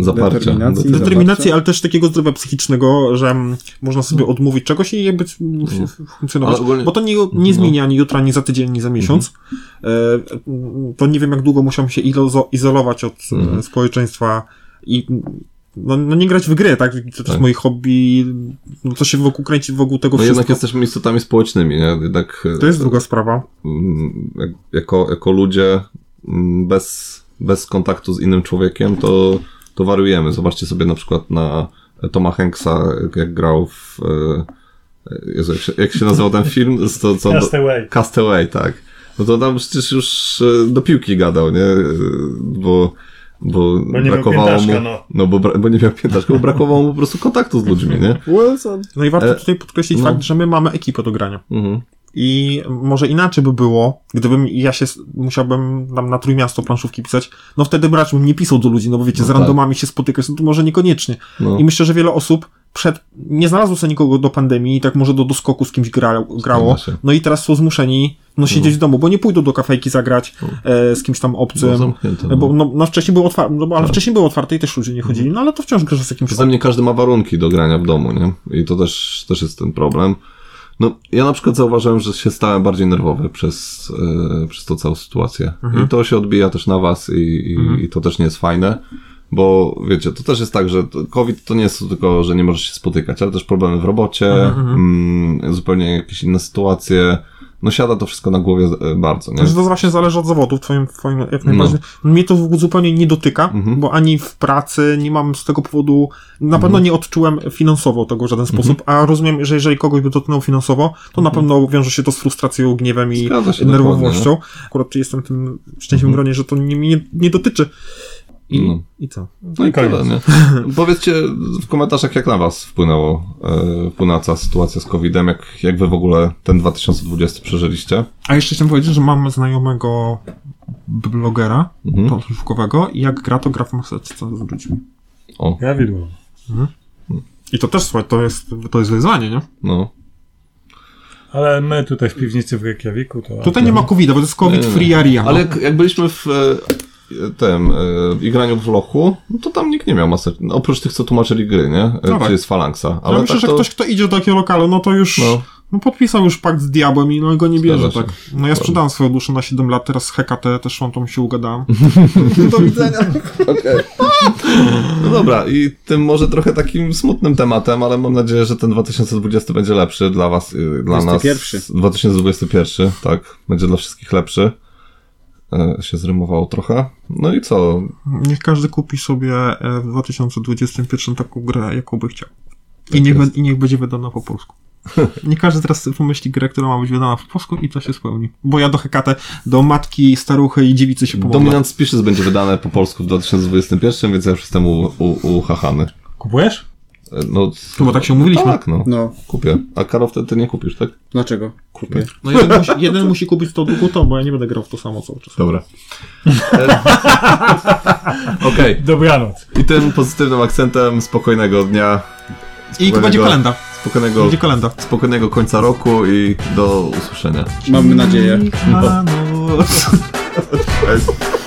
S2: Zaparcia.
S1: Determinacji.
S2: Determinacji.
S4: Determinacji, ale też takiego zdrowia psychicznego, że mm, można sobie odmówić czegoś i jakby f- f- funkcjonować.
S2: Hmm. Ale ogólnie- Mhm.
S4: Bo to nie, nie zmieni ani jutra, ani za tydzień, ani za miesiąc. E, m, To nie wiem, jak długo musiałem się ilozo- izolować od e,
S2: Mhm.
S4: społeczeństwa i m, no, no nie grać w gry, tak? To jest moje hobby, no to się wokół kręci wokół tego
S2: No
S4: wszystko.
S2: jednak jesteśmy istotami społecznymi, nie? Jednak e,
S4: To jest druga sprawa.
S2: mm, jak- jako, jako ludzie mm, bez, bez kontaktu z innym człowiekiem, to, to wariujemy. Zobaczcie sobie na przykład na Toma Hanksa, jak grał w. e, Jezu, jak, się, jak się nazywał ten film? Z To, co,
S3: Castaway.
S2: Castaway, tak. No to tam przecież już e, do piłki gadał, nie? E, Bo, bo,
S3: Bo nie miał
S2: mu.
S3: piętaszka, no.
S2: bo, bra- bo nie miał piętaszka, bo brakowało mu po prostu kontaktu z ludźmi, nie?
S1: Wilson.
S4: No i warto
S2: E,
S4: tutaj podkreślić
S2: no.
S4: fakt, że my mamy ekipę do grania.
S2: Mhm.
S4: I może inaczej by było, gdybym ja się s- musiałbym tam na trójmiasto planszówki pisać, no wtedy bracz bym nie pisał do ludzi, no bo wiecie,
S2: No
S4: z
S2: tak.
S4: randomami się spotykać, no to może niekoniecznie.
S2: No.
S4: I myślę, że wiele osób przed, nie znalazło sobie nikogo do pandemii i tak może do doskoku z kimś gra, grało,
S2: Zgadza się.
S4: no i teraz są zmuszeni no, siedzieć w domu, bo nie pójdą do kafejki zagrać e, z kimś tam obcym.
S2: Było No. zamknięte,
S4: E,
S2: no. Tak.
S4: Bo,
S2: Mhm.
S4: no, no wcześniej było otwarte, no, bo- ale wcześniej było otwarte i też ludzie nie chodzili, no ale to wciąż grasz z jakimś
S2: Poza tym nie każdy ma warunki do grania w domu, nie? I to też, też jest ten problem. No, ja na przykład zauważyłem, że się stałem bardziej nerwowy przez, e, przez tą całą sytuację. I to się odbija też na was i, i, i to też nie jest fajne, bo wiecie, to też jest tak, że to- COVID to nie jest tylko, że nie możesz się spotykać, ale też problemy w robocie, mm, zupełnie jakieś inne sytuacje. No siada to wszystko na głowie e, bardzo, nie? No.
S4: Że to właśnie zależy od zawodu, w twoim, w twoim jak najbardziej. Mnie to w- zupełnie nie dotyka,
S2: Mhm.
S4: bo ani w pracy nie mam z tego powodu, na
S2: Mhm.
S4: pewno nie odczułem finansowo tego w żaden sposób, a rozumiem, że jeżeli kogoś by dotknął finansowo, to na pewno wiąże się to z frustracją, gniewem i
S2: Mhm. Zgadza się, no. Mhm.
S4: nerwowością. Akurat jestem w tym szczęśliwym gronie, że to nie- mnie nie, nie dotyczy. I,
S2: No.
S4: I co?
S2: No i
S3: Koniec.
S2: tyle, nie? Powiedzcie w komentarzach, jak na was wpłynęło, e, wpłynęła cała sytuacja z COVID-em, jak, jak wy w ogóle ten 2020 przeżyliście.
S4: A jeszcze chciałem powiedzieć, że mam znajomego blogera mhm. planszówkowego i jak gra, to gra w maseczce z ludźmi.
S2: O,
S3: Prawidłowo.
S4: I to też, słuchaj, to jest, to jest wyzwanie, nie?
S2: no.
S3: Ale my tutaj w piwnicy w Reykjaviku to...
S4: Tutaj nie ma covid bo to jest COVID free area. no.
S2: Ale jak, jak byliśmy w e, tym, e, i graniu w lochu, no to tam nikt nie miał maseczki. No, oprócz tych, co tłumaczyli gry, nie? E,
S4: No tak.
S2: Czy jest falangsa.
S4: Ale
S2: Ale
S4: myślę,
S2: tak
S4: że
S2: to...
S4: ktoś, kto idzie do takiego lokalu, no to już no.
S2: No.
S4: podpisał już pakt z diabłem i no i go nie bierze,
S2: Zgadza
S4: tak.
S2: się.
S4: No ja sprzedałem swoją duszę na 7 lat, teraz z Hekatę też tą się ugadałem.
S2: Mhm.
S1: Do widzenia.
S2: No dobra, i tym może trochę takim smutnym tematem, ale mam nadzieję, że ten 2020 będzie lepszy dla was, y, dla nas.
S1: 21.
S2: 2021, tak. Będzie dla wszystkich lepszy. E, się zrymowało trochę. No i co?
S4: Niech każdy kupi sobie e, w 2021 taką grę, jaką by chciał.
S2: Tak
S4: I niech, be- I niech będzie wydana po polsku. Nie każdy teraz pomyśli grę, która ma być wydana po polsku i to się spełni. Bo ja do Hekatę, do matki, staruchy i dziewicy się pomogę.
S2: Dominant Species będzie wydane po polsku w 2021, więc ja już jestem u- u- uchachany.
S3: Kupujesz?
S2: E, No,
S4: Chyba tak się umówiliśmy.
S2: Tak, no.
S1: No,
S2: Kupię. A Karol wtedy ty nie kupisz, tak?
S1: dlaczego? Kupię.
S4: No jeden musi, jeden musi kupić to tylko to, bo ja nie będę grał w to samo cały czas.
S2: Dobra. E, Okej.
S3: Dobranoc.
S2: I tym pozytywnym akcentem spokojnego dnia.
S4: I
S2: spokojnego-
S4: będzie kalenda.
S2: Spokojnego
S4: Będzie kalenda.
S2: spokojnego końca roku i do usłyszenia.
S1: Mamy nadzieję.
S4: Ano.
S2: Cześć.